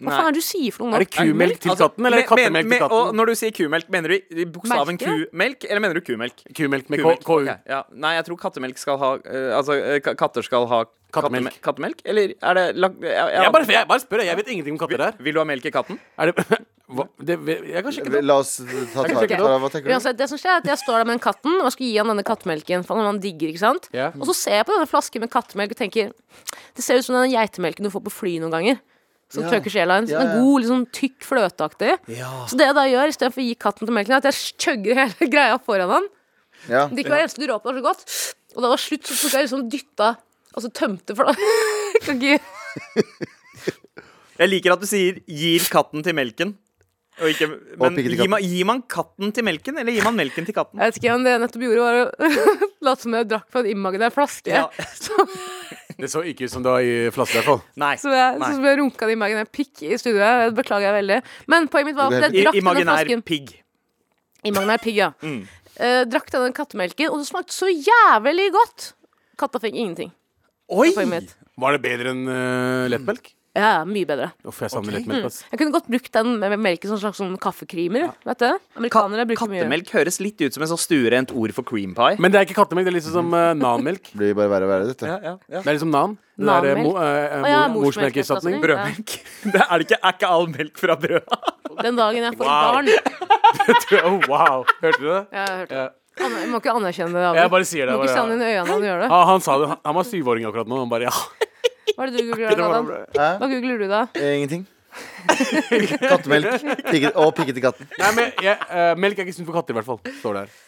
Speaker 1: Hva faen er det du sier for noe
Speaker 3: Er
Speaker 1: nå?
Speaker 3: det kumelk til
Speaker 2: Altså,
Speaker 3: katten, eller er det
Speaker 2: men- men-
Speaker 3: kattemelk til
Speaker 2: men- Og
Speaker 3: katten?
Speaker 2: når du sier kumelk, mener du i- i bokstaven
Speaker 1: Merke?
Speaker 2: kumelk, eller mener du kumelk?
Speaker 3: Kumelk med K-
Speaker 2: Kumelk.
Speaker 3: KU.
Speaker 2: Ok, ja. Nei, jeg tror kattemelk skal ha eh, Altså, eh, ka- katter skal ha
Speaker 3: Kattemelk.
Speaker 2: katteme- kattemelk? Eller er det lag- ja, ja.
Speaker 3: Jeg bare, jeg bare spør, jeg. Jeg vet ingenting om katter her.
Speaker 2: Vil du ha melk i katten?
Speaker 3: Er det, hva, det Jeg kan sjekke det.
Speaker 4: Eh, La oss ta tak i
Speaker 1: sjekke det
Speaker 4: det.
Speaker 1: opp.
Speaker 4: Hva tenker du?
Speaker 1: Uansett, det som skjer er at Jeg står der med den katten og jeg skal gi han denne kattemelken. For han digger, ikke sant?
Speaker 3: Ja.
Speaker 1: Og så ser jeg på denne flasken med kattemelk og tenker Det ser ut som den geitemelken du får på fly noen ganger. Som
Speaker 4: Ja.
Speaker 1: Turkish Airlines. Den
Speaker 4: Ja,
Speaker 1: er
Speaker 4: ja.
Speaker 1: god, liksom tykk, fløteaktig. Så det jeg da gjør, istedenfor å gi katten til melken, er at jeg chugger hele greia foran han.
Speaker 4: Ja.
Speaker 1: Det ikke var eneste du rå på, var så godt. Og da det var slutt, så tok jeg liksom dytta Altså tømte for det. Jeg kan ikke
Speaker 2: Jeg liker at du sier 'gir katten til melken'. Og ikke, men
Speaker 4: pikken til
Speaker 2: gir man, gir man katten til melken, eller gir man melken til katten?
Speaker 1: Jeg vet ikke om det jeg nettopp gjorde, var å late som jeg drakk fra en immagna flaske.
Speaker 2: Ja.
Speaker 1: Som,
Speaker 3: Det så ikke ut som det var i flaske, i hvert fall.
Speaker 2: Nei.
Speaker 1: som jeg,
Speaker 2: Nei.
Speaker 1: sånn som jeg runka den imaginære pikk i studioet. Det beklager jeg veldig. Men poenget mitt var at jeg
Speaker 2: I-
Speaker 1: drakk denne
Speaker 2: Imaginær Mm.
Speaker 1: flasken.
Speaker 2: pigg.
Speaker 1: Imaginær pigg, ja. Eh, drakk denne kattemelken, og det smakte så jævlig godt. Katta fikk ingenting.
Speaker 2: Oi!
Speaker 1: Poenget mitt.
Speaker 3: Var det bedre enn eh, lettmelk?
Speaker 1: Ja, mye bedre.
Speaker 3: Uff, jeg savner lettmelk, ass.
Speaker 1: Jeg kunne godt brukt den med- med melken som en slags sånn kaffekrimer. Vet du? Amerikanere bruker mye
Speaker 2: Kattemelk høres litt ut som en sånn stuerent ord for cream pie.
Speaker 3: Men det er ikke kattemelk, det er liksom som eh, nanmelk.
Speaker 4: Blir bare verre og verre, dette.
Speaker 2: Ja, ja, ja.
Speaker 3: Det er liksom nan. Det er, eh, mo, eh,
Speaker 1: Å ja,
Speaker 3: mor-
Speaker 1: morsmelk, erstatning.
Speaker 3: morsmelkerstatning.
Speaker 2: Brødmelk. Det er, det ikke, er ikke all melk fra brød?
Speaker 1: Den dagen jeg får
Speaker 3: Wow.
Speaker 1: barn. Jeg
Speaker 3: oh, wow. Hørte du det?
Speaker 1: har hørt det.
Speaker 3: Ja.
Speaker 1: Anna- Jeg må ikke anerkjenne det. Abu.
Speaker 3: Jeg bare sier det.
Speaker 1: Må ikke
Speaker 3: Bare,
Speaker 1: se han inn i øynene når du gjør det.
Speaker 3: Ah, han sa det. Han, han var syvåring akkurat nå. Han bare ja.
Speaker 1: Hva er det du googler, Adam?
Speaker 4: Hæ?
Speaker 1: Hva googler du da?
Speaker 4: Eh, Ingenting. Kattemelk pigge, og pigge til katten.
Speaker 3: Nei, men jeg, eh, Melk er ikke sunt for katter, i hvert fall. Står det her.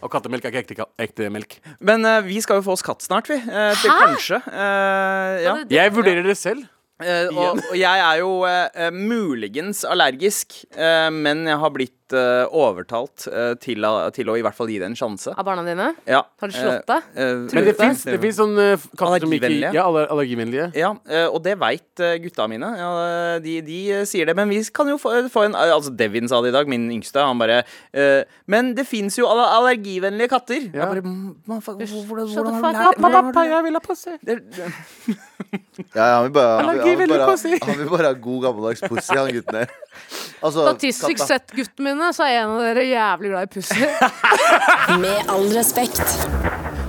Speaker 3: Og kattemelk er ikke ekte, ka- ekte melk.
Speaker 2: Men eh, vi skal jo få oss katt snart, vi. Eh, til kanskje. Eh, ja.
Speaker 3: Jeg vurderer det selv.
Speaker 2: Eh, og, og jeg er jo eh, eh, muligens allergisk, eh, men jeg har blitt eh, overtalt eh, til, å- til å i hvert fall gi det en sjanse.
Speaker 1: Av barna dine?
Speaker 2: Ja.
Speaker 1: Har du slått deg?
Speaker 2: Eh, eh,
Speaker 3: Men det fins
Speaker 2: det
Speaker 3: sånn eh, f- katter som ikke
Speaker 2: Allergivennlige.
Speaker 3: Ja, aller, allergivennlige.
Speaker 2: Ja, eh, og det veit gutta mine. Ja, de, de eh, sier det. Men vi kan jo få, få en Altså, Devin sa det i dag, min yngste. Han bare eh, Men det fins jo aller allergivennlige katter.
Speaker 3: Ja.
Speaker 2: Jeg bare, "Mm, man, fuck, hvor- hvordan,
Speaker 1: Shut the
Speaker 2: hvordan
Speaker 1: fuck up,
Speaker 2: har du lært hvordan har du-
Speaker 3: jeg vil ha passe.
Speaker 2: det- det-
Speaker 4: Ja, ja, han vil bare, han vil, han vil
Speaker 3: Allergivillig
Speaker 4: bare,
Speaker 3: pussy.
Speaker 4: han vil bare ha god gammeldags pussy, han gutten der. Altså,
Speaker 1: Statistisk
Speaker 4: katta.
Speaker 1: sett, gutten mine, så er en av dere jævlig glad i pussy.
Speaker 6: Med all respekt.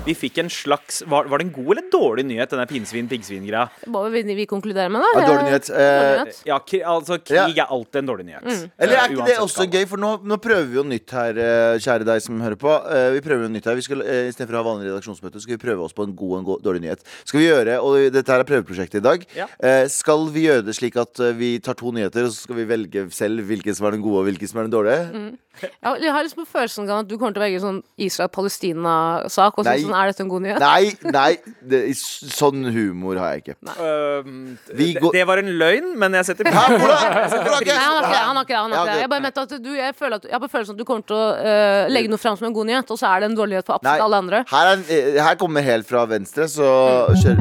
Speaker 2: Vi de fikk en slags Var, var det en god eller dårlig nyhet, denne pinnsvin-piggsvin-greia?
Speaker 1: Må vi, vi konkludere med det?
Speaker 4: Ja, dårlig nyhet. Eh,
Speaker 1: Dårlig nyhet.
Speaker 2: Ja, kri, altså, krig er alltid en dårlig nyhet.
Speaker 1: Mm.
Speaker 4: Eller
Speaker 2: Eh,
Speaker 4: er ikke det
Speaker 2: uansett
Speaker 4: også
Speaker 2: skala.
Speaker 4: gøy? For nå, nå prøver vi jo nytt her, eh, kjære deg som hører på. Eh, Vi prøver jo nytt her Vi skal, eh, Istedenfor å ha vanlig redaksjonsmøte, skal vi prøve oss på en god og en god, dårlig nyhet. Skal vi gjøre, og Dette her er prøveprosjektet i dag.
Speaker 2: Ja.
Speaker 4: Eh, Skal vi gjøre det slik at eh, vi tar to nyheter, og så skal vi velge selv hvilken som er den gode og hvilken som er den dårlige?
Speaker 1: Mm. Ja, Jeg har liksom på følelsen av at du kommer til å velge sånn Israel-Palestina-sak. Og
Speaker 4: Nei.
Speaker 1: sånn, sånn, er dette en god nyhet?
Speaker 4: Nei, nei, det, i s- sånn humor har jeg ikke.
Speaker 2: Øhm,
Speaker 4: Vi
Speaker 2: det,
Speaker 4: går-
Speaker 2: det var en løgn, men jeg setter
Speaker 4: Hæ,
Speaker 2: pris på det.
Speaker 4: hvordan? Hvordan?
Speaker 1: Nei, han har ikke det. han har ikke det, han har
Speaker 4: Ja,
Speaker 1: ikke det.
Speaker 4: det-
Speaker 1: Jeg bare mente at du, jeg, føler at, jeg har på følelsen at du kommer til å eh, legge noe fram som en god nyhet, og så er det en dårlig nyhet for absolutt
Speaker 4: Nei.
Speaker 1: alle andre.
Speaker 4: Her, er, en- eh, her kommer helt fra venstre, så kjør.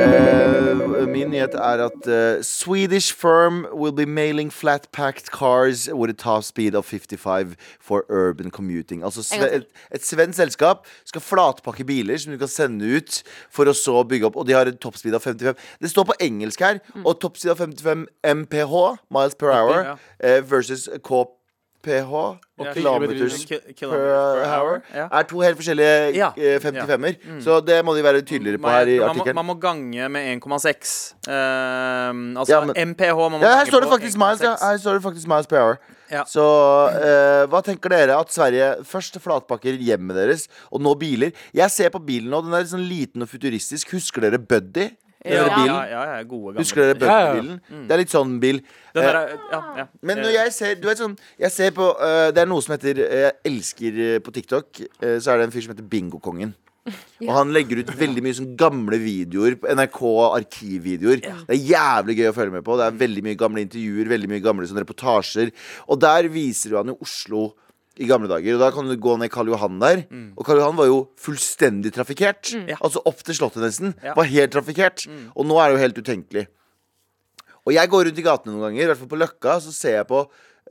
Speaker 4: Eh, min nyhet er at eh, Swedish firm will be mailing flat-packed cars with a top speed of 55 for urban commuting. Altså sve,
Speaker 1: En gang til.
Speaker 4: et, et svensk selskap skal flatpakke biler som du kan sende ut for å så bygge opp, og de har en toppspeed av 55. Det står på engelsk her,
Speaker 1: Mm.
Speaker 4: og toppspeed av 55 MPH, miles per hour,
Speaker 3: ja.
Speaker 4: eh, versus KPH, og
Speaker 2: Ja,
Speaker 4: kilometers
Speaker 2: Ki- kilometers
Speaker 4: per hour
Speaker 2: Ja.
Speaker 4: er to helt forskjellige
Speaker 2: Ja.
Speaker 4: eh, 55-er. Så det må de være tydeligere på her i
Speaker 2: Man- man, må- man
Speaker 4: artikkelen.
Speaker 2: må gange med 1,6. Øhm, altså
Speaker 4: Ja, men-
Speaker 2: MPH man må
Speaker 4: Ja, her
Speaker 2: gange
Speaker 4: står det
Speaker 2: på
Speaker 4: faktisk miles, ja.
Speaker 2: 1,6.
Speaker 4: Her står det faktisk miles per hour.
Speaker 2: Ja.
Speaker 4: Så eh, hva tenker dere at Sverige først flatpakker hjemmet deres, og nå biler? Jeg ser på bilen nå, den er litt sånn liten og futuristisk. Husker dere Buddy? Den
Speaker 2: Ja,
Speaker 4: der bilen?
Speaker 2: ja, ja, ja, gode gamle.
Speaker 4: Husker dere
Speaker 3: Ja, ja.
Speaker 4: Buddy-bilen? Det er litt sånn bil.
Speaker 2: Den
Speaker 4: Eh,
Speaker 2: der er- ja, ja.
Speaker 4: Men
Speaker 2: Eh,
Speaker 4: når jeg ser, du vet sånn Jeg ser på, øh, det er noe som heter øh, Jeg elsker øh, på TikTok øh, Så er det en fyr som heter Bingokongen Og han legger ut veldig mye sånn gamle videoer på NRK arkivvideoer Det er jævlig gøy å følge med på Det er veldig mye gamle intervjuer Veldig mye gamle sånne reportasjer Og der viser jo han jo Oslo i gamle dager, og da kan du gå ned Karl Johan der
Speaker 2: Mm.
Speaker 4: Og Karl Johan var jo fullstendig trafikert Altså opp til slottet nesten
Speaker 2: Ja. Mm.
Speaker 4: Var helt trafikert Og nå er det jo helt utenkelig og jeg går rundt i gatene noen ganger, i hvert fall på Løkka, så ser jeg på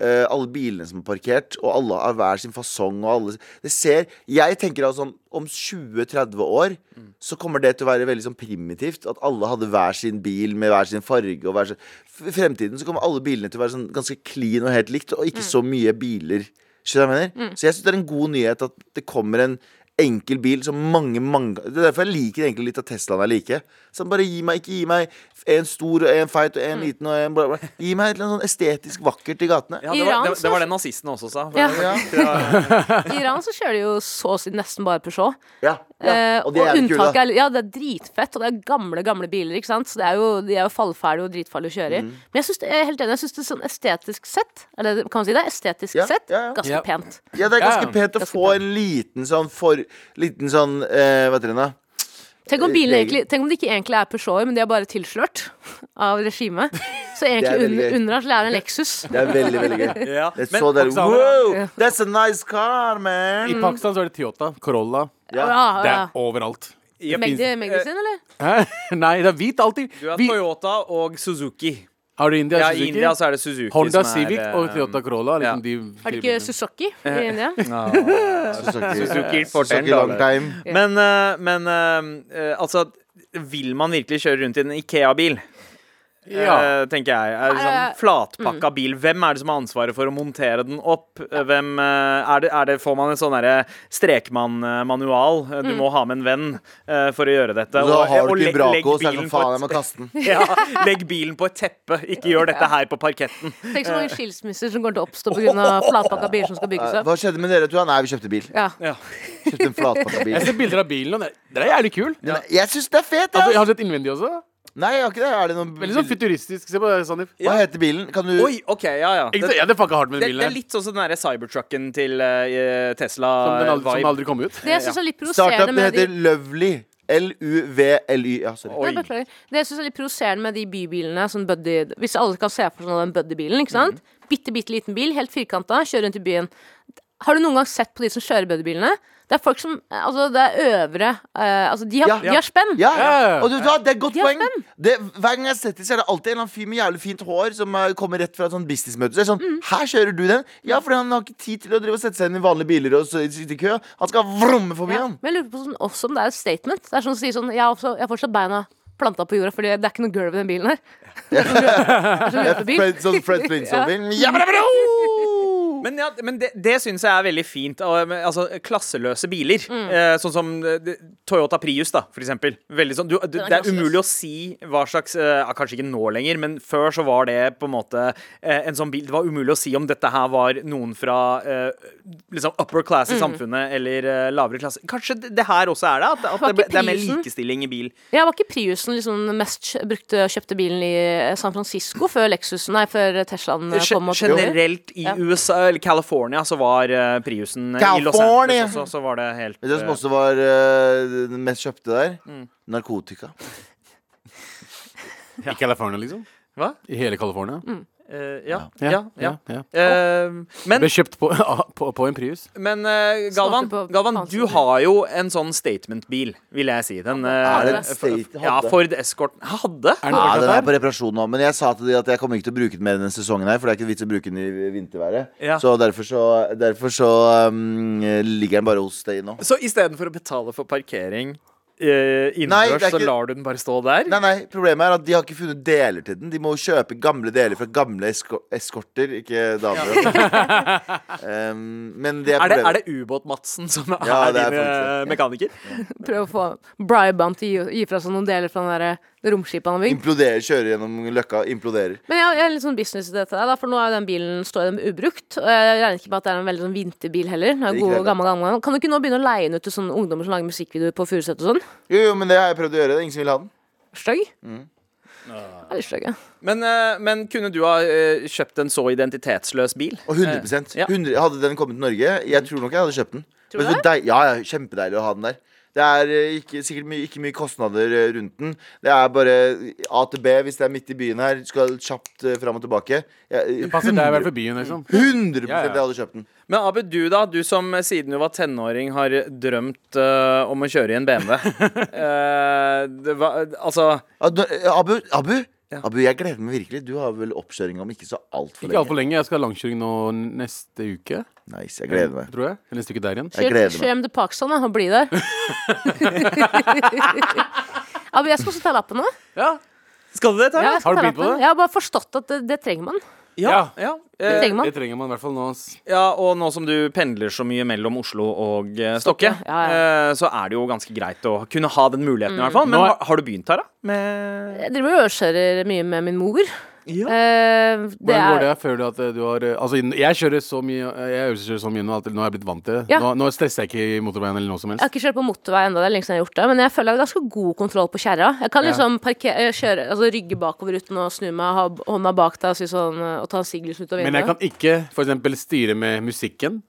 Speaker 4: eh, alle bilene som er parkert, og alle har hver sin fasong. Og alle, det ser, jeg tenker altså om, om 20-30 år så kommer det til å være veldig sånn primitivt. At alle hadde hver sin bil med hver sin farge. Og hver sin, F- I fremtiden så kommer alle bilene til å være sånn ganske clean og helt likt, og ikke så mye biler. Skjønner du hva jeg mener? Så jeg syns det er en god nyhet at det kommer en enkel bil som mange, mange Det er derfor jeg liker egentlig litt av Teslaen jeg liker. Sånn, bare gi meg, ikke gi meg en stor og en feit og en liten og en bla, bla. Gi meg et eller annet sånn estetisk vakkert i gatene.
Speaker 2: ja, det, var,
Speaker 1: Iran,
Speaker 2: det, det var
Speaker 1: så-
Speaker 2: det nazisten også sa.
Speaker 1: Ja.
Speaker 4: Ja.
Speaker 1: I Iran så kjører de jo så å si nesten bare Peugeot.
Speaker 4: Ja.
Speaker 1: Eh,
Speaker 4: ja.
Speaker 1: og
Speaker 4: Og det er jo kult,
Speaker 1: unntaket
Speaker 4: da.
Speaker 1: er, ja, det er dritfett, og det er gamle gamle biler. ikke sant? Så det er jo, De er jo fallferdige og dritfarlige å kjøre
Speaker 4: Mm.
Speaker 1: i. Men jeg, synes det, jeg er helt enig, jeg syns det er sånn estetisk sett Eller kan man si det? Estetisk
Speaker 4: Ja,
Speaker 1: sett,
Speaker 4: ja, ja.
Speaker 1: ganske
Speaker 3: Ja.
Speaker 1: pent.
Speaker 4: Ja, det er
Speaker 3: Ja.
Speaker 4: ganske pent å
Speaker 1: Ganske
Speaker 4: få en liten sånn for Liten sånn eh, Hva heter den, da?
Speaker 1: Tenk om, bilen
Speaker 4: Det-
Speaker 1: egentlig, tenk om det ikke egentlig er Peugeoter, men de er bare tilslørt av regimet. Så egentlig
Speaker 4: veldig
Speaker 1: under,
Speaker 4: gøy.
Speaker 1: under her så er det en Lexus.
Speaker 4: Det er veldig, veldig gøy.
Speaker 2: Ja.
Speaker 4: Det er
Speaker 2: Men
Speaker 4: så der,
Speaker 3: Oksana-
Speaker 4: wow, that's a nice car, man!
Speaker 3: I
Speaker 2: Mm.
Speaker 3: Pakistan så er det Toyota, Corolla.
Speaker 1: Ja,
Speaker 4: Ja.
Speaker 1: ja,
Speaker 2: Ah,
Speaker 3: Det
Speaker 1: ja.
Speaker 3: er overalt.
Speaker 2: ja,
Speaker 1: Magdi, Magdi sin, eller?
Speaker 3: Hæ? Nei, det er hvit alltid.
Speaker 2: Du er
Speaker 3: Vi-
Speaker 2: Toyota og Suzuki.
Speaker 3: Har du India?
Speaker 2: Ja, I
Speaker 3: Suzuki?
Speaker 2: India så er det Suzuki
Speaker 3: Honda
Speaker 2: som er,
Speaker 3: Civic
Speaker 2: eh,
Speaker 3: og Toyota Corolla. er
Speaker 2: ja.
Speaker 3: Liksom de
Speaker 1: Er det
Speaker 3: fire
Speaker 1: ikke Suzuki i India?
Speaker 4: Suzuki,
Speaker 2: Suzuki Fortell,
Speaker 4: Suzuki long
Speaker 2: da.
Speaker 4: time.
Speaker 2: Men, eh, men eh, eh, altså Vil man virkelig kjøre rundt i en Ikea-bil?
Speaker 3: bilene. ja.
Speaker 2: Eh, tenker jeg. Er det sånn flatpakka bil. Hvem er det som har ansvaret for å montere den opp? Eh, Hvem eh, er det, er det, Får man en sånn derre strekmann-manual? Eh, Du må ha med en venn eh, for å gjøre dette.
Speaker 4: Og så har
Speaker 2: og
Speaker 4: du ikke en
Speaker 2: legg- legg
Speaker 4: Braco, så er det
Speaker 2: bilen
Speaker 4: sånn
Speaker 2: på
Speaker 4: faen,
Speaker 2: et-
Speaker 4: jeg må kaste den.
Speaker 2: ja, legg bilen på et teppe. Ikke gjør dette her på parketten.
Speaker 1: Tenk så mange skilsmisser som kommer til å oppstå pga. flatpakka biler som skal bygges opp.
Speaker 4: Hva skjedde med dere to? Nei, vi kjøpte bil.
Speaker 1: Ja.
Speaker 2: Ja.
Speaker 4: Kjøpte en flatpakka bil.
Speaker 3: Jeg ser bilder av bilen, og den er- den er jævlig kul.
Speaker 4: Den er- Jeg syns det er fet,
Speaker 3: Altså, jeg
Speaker 4: jeg! ass.
Speaker 3: har sett innvendig også.
Speaker 4: Nei, jeg har ikke det. Er det noen
Speaker 3: Veldig sånn futuristisk. Se på det, Sandeep.
Speaker 4: Hva heter bilen? Kan du
Speaker 2: Oi, OK, ja, ja.
Speaker 3: Ikke
Speaker 2: Det,
Speaker 3: sant? Ja, det fucka hardt med
Speaker 2: det,
Speaker 3: den
Speaker 2: det er
Speaker 3: bilen. her.
Speaker 2: litt sånn som den derre cybertrucken til eh, Tesla.
Speaker 3: Som den aldri, som
Speaker 2: vibe.
Speaker 3: aldri kom ut.
Speaker 1: Det jeg syns er litt provoserende
Speaker 4: Startupen
Speaker 1: med de
Speaker 4: heter Lovely. L-U-V-L-Y. Ja, sorry.
Speaker 1: Nei, beklager. Det jeg synes er litt provoserende med de bybilene sånn buddy, Hvis alle kan se for seg den buddybilen. ikke sant? Bitte, bitte liten bil, helt firkanta, kjører rundt i byen. Har du noen gang sett på de som kjører buddybilene? Det er folk som Altså, det er øvere eh, Altså, de har,
Speaker 4: Ja.
Speaker 1: de har spenn.
Speaker 4: Ja,
Speaker 3: Ja.
Speaker 4: og du vet hva, det er et godt
Speaker 1: De er
Speaker 4: poeng. Det, hver gang jeg setter så er det alltid en eller annen fyr med jævlig fint hår som eh, kommer rett fra et sånt businessmøte. Så jeg er sånn, her kjører du den? Ja, fordi han har ikke tid til å drive og sette seg inn i vanlige biler og så- sitte i kø. Han skal vromme forbi
Speaker 1: Ja.
Speaker 4: han.
Speaker 1: Men jeg lurer på sånn, også om det er et statement. Det er sånn å si sånn Jeg har, også, jeg har fortsatt beina planta på jorda, fordi det er ikke noe gulv i den bilen her. Det er som løpebil.
Speaker 4: Fred, sånn Fred
Speaker 1: Ja.
Speaker 4: Flintstone-film. Ja, bra, bra!
Speaker 2: Men, ja, men det, det syns jeg er veldig fint. og, eh, Altså, klasseløse biler.
Speaker 1: Mm.
Speaker 2: Eh, sånn som eh, det- Toyota Prius, da, for eksempel. Veldig sånn, du, du,
Speaker 1: er
Speaker 2: det er
Speaker 1: klasseløs.
Speaker 2: umulig å si hva slags eh, ja, Kanskje ikke nå lenger, men før så var det på en måte eh, en sånn bil Det var umulig å si om dette her var noen fra eh, liksom upper class i
Speaker 1: Mm.
Speaker 2: samfunnet eller eh, lavere klasse. Kanskje det, det her også er det? At, at
Speaker 1: Var
Speaker 2: det, ble-
Speaker 1: ikke
Speaker 2: det er mer
Speaker 1: prisen?
Speaker 2: likestilling i bil.
Speaker 1: Ja, var ikke Priusen liksom den mest kjø- brukte kjøpte bilen i eh, San Francisco før Lexusen, nei, før Teslaen eh,
Speaker 2: Ge-
Speaker 1: kom? og tok over?
Speaker 2: Generelt i
Speaker 1: Ja.
Speaker 2: USA, eller California, så var eh, Priusen eh, I Los
Speaker 4: California!
Speaker 2: Angeles også, så var det helt
Speaker 4: Vet du hva som
Speaker 2: eh,
Speaker 4: også var eh, den mest kjøpte der? Narkotika.
Speaker 3: I California, liksom?
Speaker 2: Hva?
Speaker 3: I hele California?
Speaker 1: Mm.
Speaker 2: eh, ja, ja, ja,
Speaker 3: ja.
Speaker 2: Eh, men
Speaker 3: Ble kjøpt på, ah, på, på en Prius.
Speaker 2: men eh, Galvan,
Speaker 1: Smaker på
Speaker 2: Galvan,
Speaker 1: annen
Speaker 2: du
Speaker 1: side.
Speaker 2: har jo en sånn statement-bil, vil jeg si. Den, eh,
Speaker 4: Er det en
Speaker 2: f-
Speaker 4: state-
Speaker 2: ja,
Speaker 4: hadde?
Speaker 2: Ford Escorten. Hadde?
Speaker 3: Er den
Speaker 4: Ja, den
Speaker 3: fortsatt
Speaker 4: er
Speaker 3: der?
Speaker 4: på reparasjon nå, men jeg sa til de at jeg kommer ikke til å bruke den mer denne sesongen her, for det er ikke vits å bruke den i vinterværet.
Speaker 2: Ja.
Speaker 4: Så derfor så, derfor så um, ligger den bare hos deg nå.
Speaker 2: Så istedenfor å betale for parkering eh,
Speaker 4: Nei, det
Speaker 2: innendørs,
Speaker 4: er
Speaker 2: så
Speaker 4: ikke-
Speaker 2: lar du den bare stå der?
Speaker 4: Nei, nei, problemet er at de har ikke funnet deler til den. De må jo kjøpe gamle deler fra gamle esko eskorter, ikke damer. um, men det er
Speaker 2: Er det,
Speaker 4: problemet.
Speaker 2: er det Ubåt-Madsen som er
Speaker 4: Ja, det er
Speaker 2: din eh, mekaniker?
Speaker 1: Prøve å få bribe han til å gi- gi fra seg noen deler fra den der, eh, det romskipet han har bygd.
Speaker 4: Imploderer, kjører gjennom løkka, imploderer.
Speaker 1: Men jeg, jeg er litt sånn business i dette, der, da, for nå er jo den bilen står den ubrukt. Og jeg regner ikke med at det er en veldig sånn vinterbil heller. Den er
Speaker 4: Ikke
Speaker 1: jo god
Speaker 4: det,
Speaker 1: og gammel, gammel. Kan du ikke nå begynne å leie den ut til sånne ungdommer som lager musikkvideoer på Furuset og sånn?
Speaker 4: Jo, jo, men det har jeg prøvd å gjøre. Det er ingen som vil ha den.
Speaker 1: Stygg?
Speaker 4: Mm.
Speaker 1: Ja, litt stygg, ja.
Speaker 2: Men, eh, men kunne du ha eh, kjøpt en så identitetsløs bil?
Speaker 4: Og 100
Speaker 2: Eh, ja.
Speaker 4: 100 Hadde den kommet til Norge,
Speaker 3: Mm.
Speaker 4: jeg tror nok jeg hadde kjøpt den.
Speaker 1: Tror du
Speaker 4: Men så deil- ja, ja, Kjempedeilig å ha den der. Det er eh, ikke, sikkert mye- ikke mye kostnader eh, rundt den. Det er bare A til B hvis det er midt i byen her. Skal kjapt eh, fram og tilbake. Jeg,
Speaker 3: Det passer deg vel for byen, liksom.
Speaker 4: 100
Speaker 3: Ja, ja.
Speaker 4: jeg hadde kjøpt den.
Speaker 2: Men Abid, du da, du som eh, siden du var tenåring har drømt eh, om å kjøre i en BMW. Eh, det var, altså
Speaker 4: Ja, da- eh, Abu, Abu, Abu, jeg gleder meg virkelig. Du har vel oppkjøring om ikke så altfor
Speaker 3: Ikke altfor
Speaker 4: lenge.
Speaker 3: lenge. Jeg skal ha langkjøring nå neste uke.
Speaker 4: Nice, jeg gleder meg.
Speaker 3: Tror jeg. Eller neste uke der igjen.
Speaker 4: Jeg
Speaker 1: Kjør,
Speaker 4: gleder meg.
Speaker 1: kjør hjem til Pakistan da, og bli der. ja, men jeg skal også ta lappen nå.
Speaker 3: Ja.
Speaker 2: Skal du det,
Speaker 1: Ja,
Speaker 2: Tara?
Speaker 1: jeg skal
Speaker 3: Har du
Speaker 1: ta
Speaker 3: begynt på
Speaker 1: lappen.
Speaker 3: det?
Speaker 1: Jeg har bare forstått at det, det trenger man.
Speaker 2: Ja. ja.
Speaker 1: Det
Speaker 2: Eh,
Speaker 1: trenger man.
Speaker 3: Det trenger man i hvert fall nå. ass.
Speaker 2: ja, og nå som du pendler så mye mellom Oslo og eh, Stokke,
Speaker 1: Stokke, ja, ja.
Speaker 2: eh, så er det jo ganske greit å kunne ha den muligheten, i hvert fall. Men
Speaker 3: Nå er-
Speaker 2: har, har du begynt, Tara? Med
Speaker 1: Jeg driver og øvelseskjører mye med min mor.
Speaker 2: Ja.
Speaker 1: Eh, det
Speaker 3: Hvordan går det?
Speaker 1: er,
Speaker 3: Jeg føler at eh, du har eh, Altså, jeg kjører så mye eh, Jeg øvelseskjører så mye nå at nå har jeg blitt vant til det.
Speaker 1: Ja.
Speaker 3: Nå, nå stresser jeg ikke i motorveien eller noe som
Speaker 1: jeg
Speaker 3: helst.
Speaker 1: har ikke kjørt på motorvei ennå, det er lenge siden jeg har gjort det, men jeg føler jeg har ganske god kontroll på kjerra. Jeg kan
Speaker 3: Ja.
Speaker 1: liksom parkere, kjøre, altså rygge bakover uten å snu meg, ha b- hånda bak deg og, si sånn, eh, og ta en siglus ut av
Speaker 3: Men jeg
Speaker 1: vinduet.
Speaker 3: kan ikke for eksempel styre med musikken.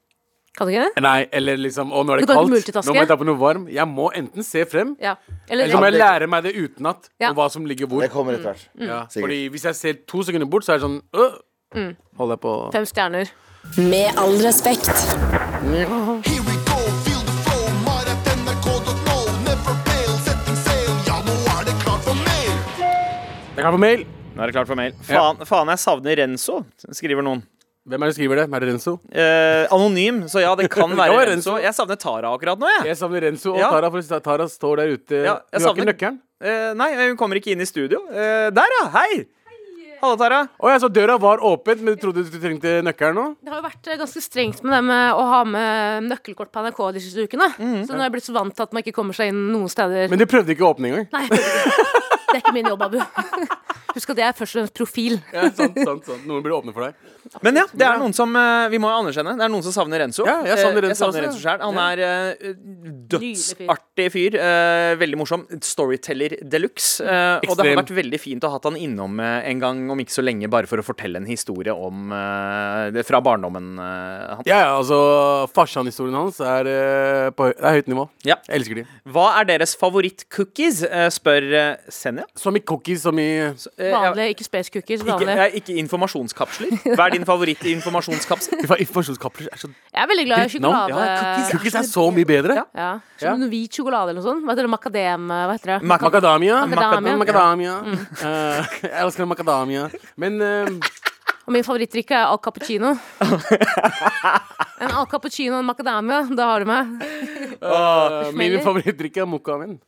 Speaker 1: Kan du ikke det?
Speaker 3: Nei, eller liksom Å, nå er
Speaker 1: Du
Speaker 3: det
Speaker 1: kan ikke
Speaker 3: kaldt.
Speaker 1: multitaske?
Speaker 3: Nå må jeg ta på noe varm. Jeg må enten se frem,
Speaker 1: Ja.
Speaker 3: eller
Speaker 1: Eller
Speaker 3: så må
Speaker 1: ja,
Speaker 3: jeg lære meg det utenat.
Speaker 1: Ja.
Speaker 3: Og hva som ligger hvor.
Speaker 4: Det kommer etter hvert.
Speaker 3: Ja,
Speaker 4: Sikkert.
Speaker 3: fordi hvis jeg ser to sekunder bort, så er det sånn øh, Holder jeg på
Speaker 1: Mm. fem stjerner.
Speaker 6: Med all respekt.
Speaker 7: Here we go, feel the flow. Mar.nrk.no, never fail, setting sail. Ja, nå er det klart for mer.
Speaker 3: Jeg kan få mail.
Speaker 2: Nå er det klart for mail. Faen, faen jeg savner Renzo, skriver noen.
Speaker 3: Hvem er det som skriver det? Er det Renzo?
Speaker 2: Eh, anonym, så ja, det kan være
Speaker 3: Ja,
Speaker 2: Renzo.
Speaker 3: Renzo.
Speaker 2: Jeg savner Tara akkurat nå, jeg.
Speaker 3: Jeg savner Renzo og
Speaker 2: Ja.
Speaker 3: Tara, for Tara står der ute.
Speaker 2: Ja, jeg
Speaker 3: Hun har ikke
Speaker 2: savner-
Speaker 3: nøkkelen.
Speaker 2: Eh, nei, hun kommer ikke inn i studio. Eh, der, ja! Hei! Hallo, Tara.
Speaker 3: Å ja, så døra var åpen, men du trodde du trengte nøkkelen nå?
Speaker 1: Det har jo vært eh, ganske strengt med det med å ha med nøkkelkort på NRK de siste ukene. Så nå er jeg blitt så vant til at man ikke kommer seg inn noen steder.
Speaker 3: Mm, Men de prøvde ikke å åpne engang.
Speaker 1: Nei, det er ikke min jobb, Abu. Husk at jeg er først og fremst profil.
Speaker 3: Ja, sant, sant, sant. Noen blir åpne for deg.
Speaker 2: Men ja, det er noen som eh, Vi må jo anerkjenne. Det er noen som savner Renzo.
Speaker 3: Ja, jeg savner
Speaker 2: Eh,
Speaker 3: Renzo også,
Speaker 2: Renzo selv. Han er eh, dødsartig fyr. eh, veldig morsom. Storyteller de luxe. og det hadde
Speaker 3: Ekstrem.
Speaker 2: vært veldig fint å ha hatt han innom eh, en gang om ikke så lenge, bare for å fortelle en historie om eh, det fra barndommen eh, hans.
Speaker 3: Ja, ja, altså Farsan-historien hans er eh, på høy, det er høyt nivå.
Speaker 2: Ja.
Speaker 3: Jeg elsker de.
Speaker 2: Hva er deres favorittcookies, eh, spør eh, Senja.
Speaker 3: Som i cookies, som i Fy
Speaker 2: Eh, jeg-
Speaker 1: Vanlig, ikke space cookies.
Speaker 2: Ikke,
Speaker 1: Vanlig.
Speaker 2: eh, ikke informasjonskapsler. Hva er din favoritt-informasjonskapsel?
Speaker 3: faen, Informasjonskapsler er så
Speaker 1: Jeg er veldig glad i
Speaker 3: Dritt navn.
Speaker 1: sjokolade.
Speaker 3: Cookies er så mye bedre.
Speaker 2: Ja.
Speaker 1: Ja,
Speaker 3: Ja.
Speaker 1: Som noe hvit sjokolade eller noe sånt. Hva heter det? Macadam... eh, Hva heter det?
Speaker 2: Mac-
Speaker 3: Macadamia.
Speaker 1: Macadamia.
Speaker 3: Macadamia. Macadamia. Eh, jeg elsker macadamia. Men eh,
Speaker 1: Og min favorittdrikk er al cappuccino. en al cappuccino og en macadamia, da har du meg.
Speaker 3: min favorittdrikk er mocha min.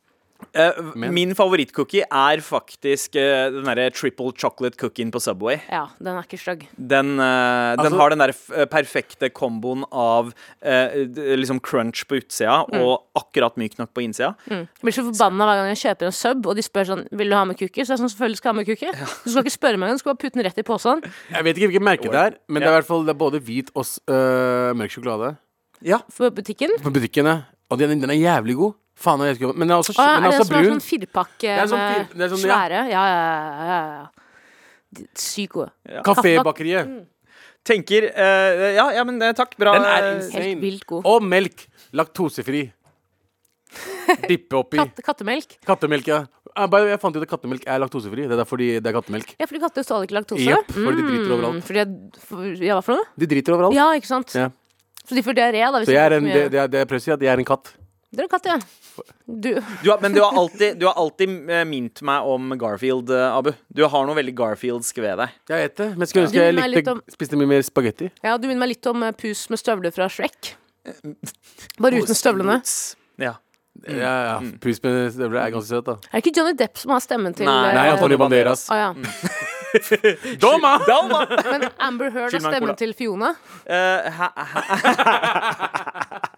Speaker 2: Eh,
Speaker 3: Men-
Speaker 2: Min favorittcookie er faktisk eh, den derre triple chocolate cookien på Subway.
Speaker 1: Ja, den er ikke stygg.
Speaker 2: Den, eh, den
Speaker 3: Altså-
Speaker 2: har den der f- eh, perfekte komboen av eh, d- liksom crunch på utsida
Speaker 1: Mm.
Speaker 2: og akkurat myk nok på innsida.
Speaker 1: Jeg blir så forbanna hver gang jeg kjøper en sub, og de spør sånn Vil du ha med cookie? Så jeg er sånn, selvfølgelig skal jeg ha med cookie. Du skal ikke spørre meg engang, du skal bare putte den rett i posen.
Speaker 3: Jeg vet ikke hvilket merke det er, men det er i hvert fall det er både hvit og s- øh, mørk sjokolade.
Speaker 1: På butikken.
Speaker 3: På butikken, ja. Og den, den er jævlig god. Faen, jeg vet ikke om Men den er også,
Speaker 1: Å, ja, er
Speaker 3: den er
Speaker 1: det
Speaker 3: også
Speaker 1: som er
Speaker 3: brun.
Speaker 1: sånn firpakke
Speaker 3: Det er sånn
Speaker 1: med
Speaker 3: fir- det er sånn, ja.
Speaker 1: svære? Ja, ja, ja. ja, ja. Sykt gode.
Speaker 3: Kafébakeriet.
Speaker 2: Tenker eh, Ja, ja, men eh, takk. Bra.
Speaker 3: Den er
Speaker 2: eh,
Speaker 3: insane.
Speaker 1: vilt god.
Speaker 3: Og melk. Laktosefri. Dippe oppi.
Speaker 1: Katte, kattemelk.
Speaker 3: Kattemelk, ja. Ah, by the way, Jeg fant ut at kattemelk er laktosefri. Det er derfor de, det er kattemelk.
Speaker 1: Ja, fordi katter tåler ikke laktose.
Speaker 3: Jepp, fordi de driter overalt.
Speaker 1: Mm, fordi jeg, for, ja, hva for noe?
Speaker 3: De driter overalt.
Speaker 1: Ja, ikke sant?
Speaker 3: Ja.
Speaker 1: Så de får diaré, da. Hvis
Speaker 3: Så jeg er
Speaker 1: de
Speaker 3: en,
Speaker 1: får for
Speaker 3: det,
Speaker 1: mye-
Speaker 3: det er, det er prøvd å si at jeg er en katt.
Speaker 1: Det er en katt, ja. Du,
Speaker 2: Du har, men du har alltid, du har alltid eh, minnet meg om Garfield, eh, Abu. Du har noe veldig Garfieldsk ved deg.
Speaker 3: Jeg vet det, men skulle ønske
Speaker 1: Du
Speaker 3: jeg
Speaker 1: minner meg litt
Speaker 3: likte
Speaker 1: om-
Speaker 3: spiste mye mer spagetti.
Speaker 1: ja, du minner meg litt om eh, pus med støvler fra Shrek.
Speaker 3: Eh,
Speaker 1: Bare uten støvlene.
Speaker 2: Ja.
Speaker 3: Ja, Mm. ja. Pus med støvler er ganske søt, da.
Speaker 1: Er det ikke Johnny Depp som har stemmen til
Speaker 2: Nei,
Speaker 1: eh,
Speaker 3: Nei, Antonio Banderas.
Speaker 1: Å, ja.
Speaker 3: Doma!
Speaker 1: Men Amber Heard har
Speaker 2: Skyld meg en cola.
Speaker 1: stemmen til Fiona.
Speaker 2: Eh, hæ- hæ-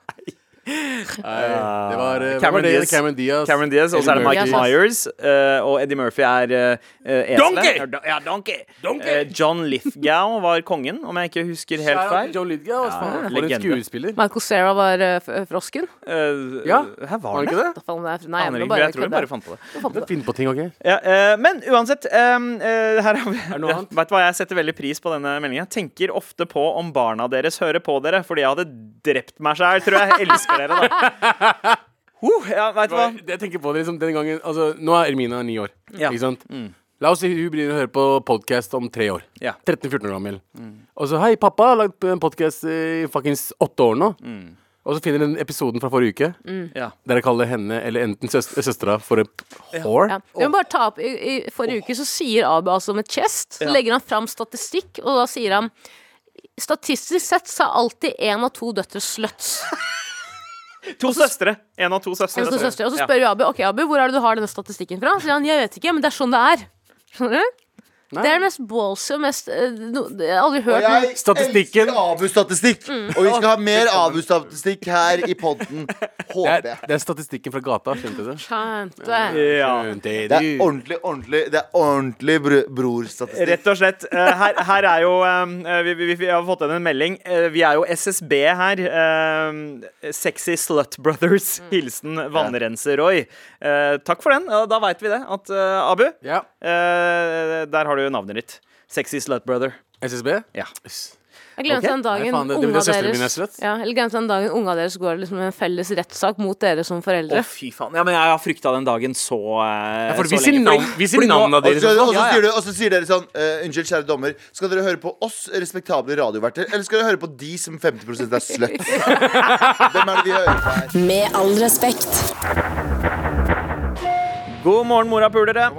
Speaker 3: Det var, eh, hva
Speaker 2: Cameron
Speaker 3: var det?
Speaker 2: Diaz.
Speaker 3: Cameron Diaz.
Speaker 2: Cameron Diaz, og så er det
Speaker 3: Eddie
Speaker 2: Mike
Speaker 1: Murphy.
Speaker 2: Myers. eh, og Eddie Murphy er eh, eh, eselet.
Speaker 3: Donkey!
Speaker 2: Ja, do- Ja, donkey. Eh, John Lithgow var kongen, om jeg ikke husker helt
Speaker 3: Shout out
Speaker 2: feil.
Speaker 3: til John Lydgaard. altså, faen. For en
Speaker 2: legende.
Speaker 3: skuespiller.
Speaker 1: Michael Cera var eh, f- frosken.
Speaker 2: Eh,
Speaker 3: Ja,
Speaker 2: Hæ, var
Speaker 3: Var det
Speaker 2: det?
Speaker 3: ikke det?
Speaker 1: Da faen det er fra- Nei, jeg
Speaker 2: Aner ikke,
Speaker 1: må
Speaker 2: men
Speaker 1: bare
Speaker 2: jeg tror hun
Speaker 1: kødde.
Speaker 2: bare fant på det.
Speaker 1: Fant på det.
Speaker 3: Finn på ting, OK?
Speaker 2: Ja, eh, men uansett ehm, eh, her har vi,
Speaker 3: noe annet?
Speaker 2: Vet du hva jeg setter veldig pris på denne meldinga? Tenker ofte på om barna deres hører på dere, fordi jeg hadde drept meg sjæl. Tror jeg elsker dere, da. Uh, ja, vet du hva?
Speaker 3: Det jeg tenker på det liksom den gangen altså, Nå er Ermina ni år,
Speaker 2: Ja.
Speaker 3: ikke sant? La oss si hun begynner å høre på podkast om tre år.
Speaker 2: Ja.
Speaker 3: 13-14 år gammel. Og så 'Hei, pappa har lagd en podkast i fuckings åtte år nå'. Og så finner hun episoden fra forrige uke
Speaker 1: Mm.
Speaker 2: Ja.
Speaker 3: der jeg kaller henne eller enten søs søstera for en whore.
Speaker 1: Ja. Jeg må bare ta opp, i, i Forrige uke så sier Abu altså med chest. Så legger han fram statistikk, og da sier han Statistisk sett så er alltid én av to døtre sluts.
Speaker 2: To søstre. En av to søstre.
Speaker 1: Og så søster- og så spør vi Abu ok Abu, hvor er det du har denne statistikken fra. Så sier han jeg vet ikke, men det er sånn det er. Skjønner du? Det er det mest ballsy og mest eh, no, Jeg har aldri hørt noe-
Speaker 4: Jeg
Speaker 3: Mm. Statistikken- Mm.
Speaker 4: elsker Abu-statistikk. Og vi skal ha mer Abu-statistikk her i podden.
Speaker 3: Det,
Speaker 4: Håper
Speaker 3: er,
Speaker 4: jeg.
Speaker 3: det er statistikken fra gata, skjønte du?
Speaker 1: Skjønte.
Speaker 2: Ja.
Speaker 3: Skjønte du?
Speaker 4: Det er ordentlig, ordentlig Det er ordentlig bro brorstatistikk.
Speaker 2: Rett og slett. Eh, her, her er jo eh, vi, vi, vi har fått inn en melding. Eh, vi er jo SSB her. Eh, sexy Slut Brothers. Hilsen Vannrenser-Roy. Eh, takk for den. Ja, da veit vi det. At eh, Abu
Speaker 3: Ja.
Speaker 2: Eh, der har du navnet ditt. Sexy slut brother.
Speaker 3: SSB?
Speaker 2: Ja.
Speaker 1: Jeg glemte
Speaker 3: Ok.
Speaker 1: den dagen
Speaker 3: Nei, faen, det- det
Speaker 1: unga
Speaker 3: betyr søstrene mine er
Speaker 1: deres
Speaker 3: sluts.
Speaker 1: ja, Eller glemte den dagen unga deres går liksom en felles rettssak mot dere som
Speaker 2: Å,
Speaker 1: foreldre.
Speaker 2: fy faen. Ja, men jeg har frykta den dagen så, eh, så
Speaker 3: for vi sier
Speaker 2: lenge.
Speaker 3: navn- vi sier
Speaker 2: fordi nå-
Speaker 3: navnet
Speaker 4: Og
Speaker 3: deres.
Speaker 4: så, og, så
Speaker 2: Ja, ja.
Speaker 4: sier du, og så sier dere sånn eh, Unnskyld, kjære dommer. Skal dere høre på oss respektable radioverter, eller skal dere høre på de som 50 er sluts? Hvem er det vi hører på her?
Speaker 6: Med all respekt.
Speaker 2: God morgen, morapulere.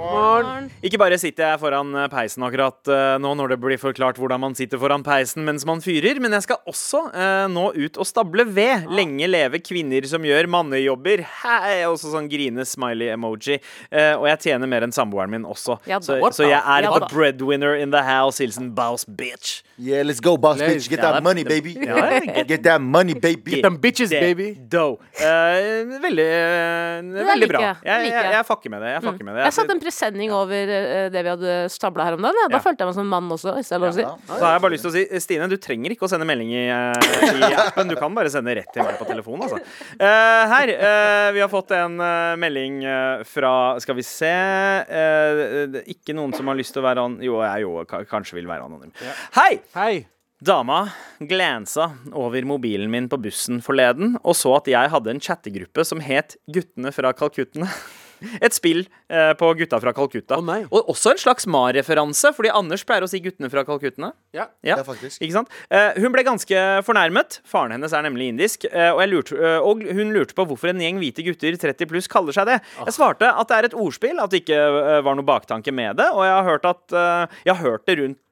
Speaker 2: Ikke bare sitter jeg foran eh, peisen akkurat eh, nå når det blir forklart hvordan man sitter foran peisen mens man fyrer, men jeg skal også eh, nå ut og stable ved. Lenge leve kvinner som gjør mannejobber. Hei! Og så sånn grine smiley-emoji. Eh, og jeg tjener mer enn samboeren min også.
Speaker 1: Ja da.
Speaker 2: så,
Speaker 1: What
Speaker 2: så jeg er
Speaker 1: Ja
Speaker 2: the
Speaker 1: da.
Speaker 2: breadwinner in the house. Hilsen Bouse bitch.
Speaker 4: Yeah, let's go, boss bitch. Get
Speaker 2: Ja,
Speaker 4: that
Speaker 2: det-
Speaker 4: money, baby.
Speaker 2: Ja, get-
Speaker 4: Get that money, baby.
Speaker 3: Get them bitches,
Speaker 2: Det-
Speaker 3: baby.
Speaker 2: Dough. Eh, veldig eh, veldig
Speaker 1: liker
Speaker 2: bra.
Speaker 1: jeg.
Speaker 2: Jeg,
Speaker 1: Det
Speaker 2: jeg,
Speaker 1: liker jeg. Mm.
Speaker 2: jeg fucker med det. Jeg fucker med det.
Speaker 1: Jeg satte en presenning over eh, det vi hadde stabla her om dagen. Ja. Da
Speaker 2: Ja.
Speaker 1: følte jeg meg som en mann også. Hvis det er lov å si.
Speaker 4: Ja.
Speaker 2: Så har jeg bare lyst til å si Stine, du trenger ikke å sende melding i, eh, i appen. Du kan bare sende rett til meg på telefon. Altså. Eh, her eh, Vi har fått en eh, melding eh, fra Skal vi se eh, det- Ikke noen som har lyst til å være anonym. Jo, jeg jo, ka- kanskje vil være anonym. Hei!
Speaker 3: Hei.
Speaker 2: Dama glansa over mobilen min på bussen forleden og så at jeg hadde en chattegruppe som het Guttene fra Kalkuttene. Et spill eh, på Gutta fra Kalkutta.
Speaker 3: Å, nei.
Speaker 2: og også en slags Ma-referanse, fordi Anders pleier å si Guttene fra Kalkuttene.
Speaker 3: Ja.
Speaker 2: Ja,
Speaker 4: Ja, faktisk.
Speaker 2: Ikke sant? Eh, hun ble ganske fornærmet. Faren hennes er nemlig indisk. eh, og, jeg lurte, eh, og hun lurte på hvorfor en gjeng hvite gutter 30 pluss kaller seg det. Jeg svarte at det er et ordspill, at det ikke eh, var noe baktanke med det. Og jeg har hørt, at, eh, jeg har hørt det rundt eh,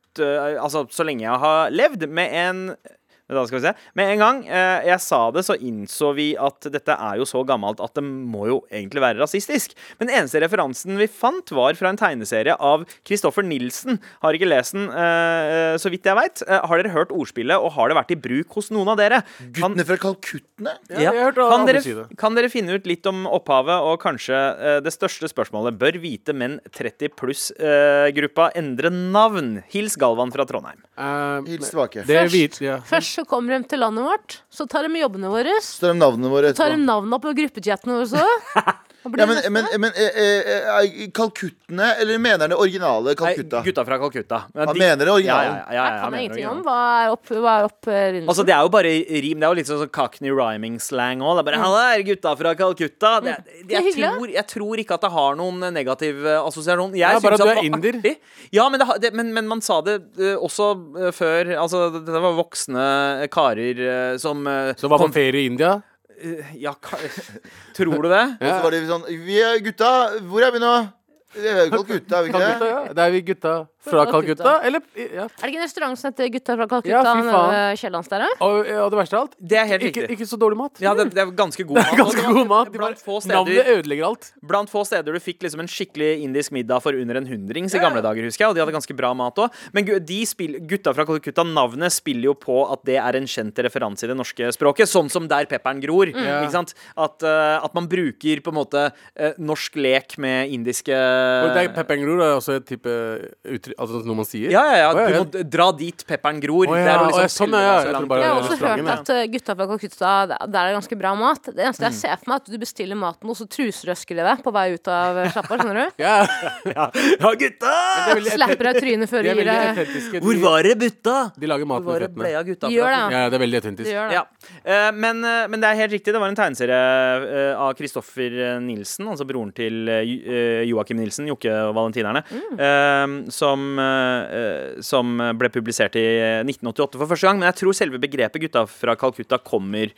Speaker 2: Altså så lenge jeg har levd, med en Men da skal vi se. Med en gang eh, jeg sa det, så innså vi at dette er jo så gammelt at det må jo egentlig være rasistisk. Men den eneste referansen vi fant, var fra en tegneserie av Christoffer Nilsen. Har ikke lest den, eh, så vidt jeg veit. Eh, har dere hørt ordspillet, og har det vært i bruk hos noen av dere? Kan-
Speaker 4: Guttene fra Kalkuttene?
Speaker 3: Ja, jeg har hørt alle
Speaker 2: kan,
Speaker 3: andre
Speaker 2: dere,
Speaker 3: si det.
Speaker 2: kan dere finne ut litt om opphavet, og kanskje eh, det største spørsmålet Bør hvite menn 30 pluss-gruppa endre navn? Hils Galvan fra Trondheim.
Speaker 3: Eh,
Speaker 4: Hils tilbake.
Speaker 3: det er hvit, ja.
Speaker 1: Først så kommer de til landet vårt, så tar de jobbene våre. Så
Speaker 4: Så er det navnene våre
Speaker 1: tar de
Speaker 4: etterpå.
Speaker 1: navnene på gruppechatten vår så. Hva blir
Speaker 4: Ja, men,
Speaker 1: neste?
Speaker 4: men, men eh, eh, eh, Kalkuttene, eller mener han det originale Kalkutta?
Speaker 2: Nei, gutta fra Calcutta. Men
Speaker 4: Han mener det
Speaker 2: Ja, ja,
Speaker 4: originalen.
Speaker 2: ja, ja,
Speaker 1: jeg
Speaker 2: han
Speaker 1: kan
Speaker 2: mener
Speaker 1: jeg ingenting om.
Speaker 2: originalen.
Speaker 1: Hva er opp, hva er opp eh, runden?
Speaker 2: Altså, det er jo bare rim. Det er jo litt sånn sånn cockney rhyming-slang òg. Det er bare 'Halla, er det gutta fra Calcutta'. Det, det, jeg,
Speaker 1: Mm. hyggelig,
Speaker 2: tror, jeg tror ikke at det har noen negativ eh, assosiasjon. Jeg
Speaker 3: Ja, bare
Speaker 2: synes
Speaker 3: at du
Speaker 2: det
Speaker 3: er
Speaker 2: var
Speaker 3: inder.
Speaker 2: artig. Ja, men, det, har- det, men, men man sa det eh, også eh, før Altså, det, det var voksne karer eh, som eh,
Speaker 3: Som var
Speaker 2: kom-
Speaker 3: på ferie i India.
Speaker 2: Ja, ka- tror du det?
Speaker 4: Og så var det sånn Vi er gutta, hvor er vi nå? Vi er jo i Calcutta, er vi ikke
Speaker 3: Calcutta,
Speaker 4: det?
Speaker 3: ja. Det er vi gutta fra Calcutta. Eller ja.
Speaker 1: er det ikke en restaurant som heter Gutta fra Calcutta?
Speaker 3: Ja, fy
Speaker 1: nede
Speaker 3: faen.
Speaker 1: ved Kiellands der, da?
Speaker 3: Og, og det verste av alt,
Speaker 2: Det er helt
Speaker 3: ikke,
Speaker 2: riktig.
Speaker 3: ikke så dårlig mat.
Speaker 2: Ja, det, det er ganske god mat.
Speaker 3: Ganske
Speaker 2: og det var
Speaker 3: god mat.
Speaker 2: Blant få
Speaker 3: Navnet
Speaker 2: steder, Eh.
Speaker 3: ødelegger alt.
Speaker 2: blant få steder du fikk liksom en skikkelig indisk middag for under en hundrings i gamle dager, husker jeg. Og de hadde ganske bra mat òg. Men gu- de spill, gutta fra Calcutta, navnet spiller jo på at det er en kjent referanse i det norske språket. Sånn som der pepperen gror.
Speaker 3: Mm.
Speaker 2: Ikke sant? At, eh, at man bruker på en måte eh, norsk lek med indiske
Speaker 3: Og det er peppengror er også et type uttrykk, altså noe man sier.
Speaker 2: Ja, ja, ja.
Speaker 3: Å,
Speaker 2: Du
Speaker 3: jeg-
Speaker 2: må d- dra dit pepperen gror.
Speaker 3: Å, ja.
Speaker 2: Det er å
Speaker 3: Å, ja,
Speaker 2: liksom
Speaker 3: sånn, ja, ja.
Speaker 2: tulle deg så
Speaker 3: Jeg tror
Speaker 2: langt.
Speaker 3: bare-
Speaker 1: Jeg har
Speaker 3: det er
Speaker 1: også hørt
Speaker 3: restauranten,
Speaker 1: at eh, Gutta fra Calcutta der der er det ganske bra mat. Det eneste
Speaker 2: Mm.
Speaker 1: jeg ser for meg, er at du bestiller maten, og så truserøsker de deg på vei ut av eh, sjappa. skjønner du?
Speaker 3: Ja.
Speaker 2: Ja, gutta!
Speaker 3: Det er veldig et-
Speaker 1: Slapper deg i trynet før
Speaker 3: de
Speaker 1: du
Speaker 3: er
Speaker 1: gir
Speaker 3: veldig
Speaker 1: deg
Speaker 3: autentiske.
Speaker 2: Hvor
Speaker 3: De-
Speaker 2: var det, butta?
Speaker 3: De lager mat med
Speaker 2: Hvor var det
Speaker 3: føttene.
Speaker 2: blei av gutta?
Speaker 1: De gjør
Speaker 2: fra
Speaker 1: det,
Speaker 3: Ja, det er veldig
Speaker 1: Du
Speaker 3: autentisk.
Speaker 1: gjør det.
Speaker 2: ja. Eh, men, eh, men det er helt riktig. Det var en tegneserie eh, av Kristoffer Nilsen, altså broren til eh, Jo- eh, Joakim Nilsen, Jokke og Valentinerne,
Speaker 1: Mm.
Speaker 2: eh, som, eh, eh, som ble publisert i 1988 for første gang. Men jeg tror selve begrepet 'gutta fra Calcutta' kommer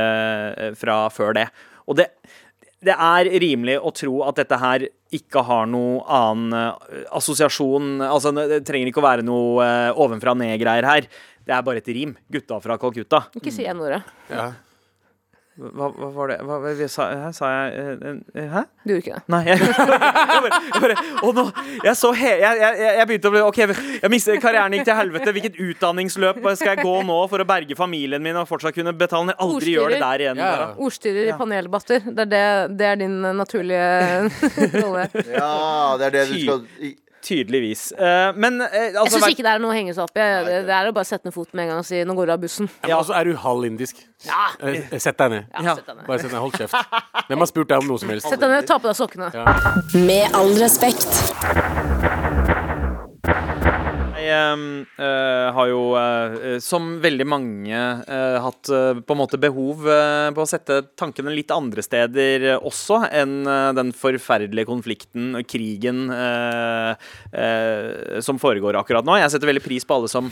Speaker 2: eh, fra før det. Og det det er rimelig å tro at dette her ikke har noe annen eh, assosiasjon Altså, det trenger ikke å være noe eh, ovenfra og ned-greier her. Det er bare et rim. Gutta fra Calcutta.
Speaker 1: Ikke si en ordet.
Speaker 2: Hva, hva var det hva, hva, hva, sa, hæ, sa jeg eh, eh, Hæ?
Speaker 1: Du gjorde ikke det.
Speaker 2: Nei, jeg, jeg bare, jeg bare Å, nå Jeg så he... Jeg, jeg, jeg- jeg begynte å bli OK, jeg mistet karrieren gikk til helvete. Hvilket utdanningsløp skal jeg gå nå for å berge familien min og fortsatt kunne betale? ned? Aldri gjør det der igjen.
Speaker 3: Ja.
Speaker 2: Tara.
Speaker 1: Ordstyrer i paneldebatter. Det er, det, det er din eh, naturlige rolle.
Speaker 4: Ja, det er det du skal i-
Speaker 2: Tydeligvis. Eh, men eh,
Speaker 1: Jeg
Speaker 2: altså
Speaker 1: syns ikke det er noe å henge seg opp i. Det, det er å bare sette ned foten med en gang og si 'nå går du av bussen'.
Speaker 3: Ja, men også er du halv indisk. Eh, Sett deg ned.
Speaker 2: Ja.
Speaker 1: Ja, sett deg ned.
Speaker 3: Bare sett deg ned. Hold kjeft. Hvem har spurt deg om noe som helst?
Speaker 1: Sett deg ned, ta på deg sokkene.
Speaker 6: Med all respekt.
Speaker 2: Jeg ehm, eh, har jo, eh, eh, som veldig mange, eh, hatt eh, på en måte behov eh, på å sette tankene litt andre steder eh, også enn eh, den forferdelige konflikten og krigen eh, eh, som foregår akkurat nå. Jeg setter veldig pris på alle som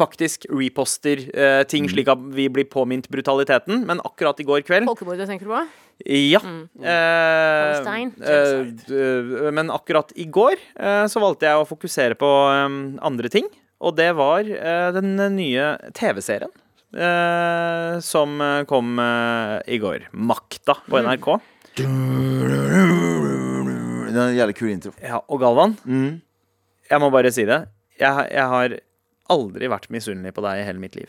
Speaker 2: faktisk reposter eh, ting slik at vi blir påminnet brutaliteten, men akkurat i går kveld
Speaker 1: Folkemordet tenker du på?
Speaker 2: ja. Eh,
Speaker 1: Palestine.
Speaker 2: eh, d- eh, men akkurat i går eh, så valgte jeg å fokusere på eh, andre ting, og det var eh, den nye TV-serien. eh, som eh, kom eh, i går. 'Makta' på NRK.
Speaker 4: Det er en jævlig kul intro.
Speaker 2: Ja, og Galvan,
Speaker 4: Mm.
Speaker 2: jeg må bare si det. Jeg, har- jeg har aldri vært misunnelig på deg i hele mitt liv.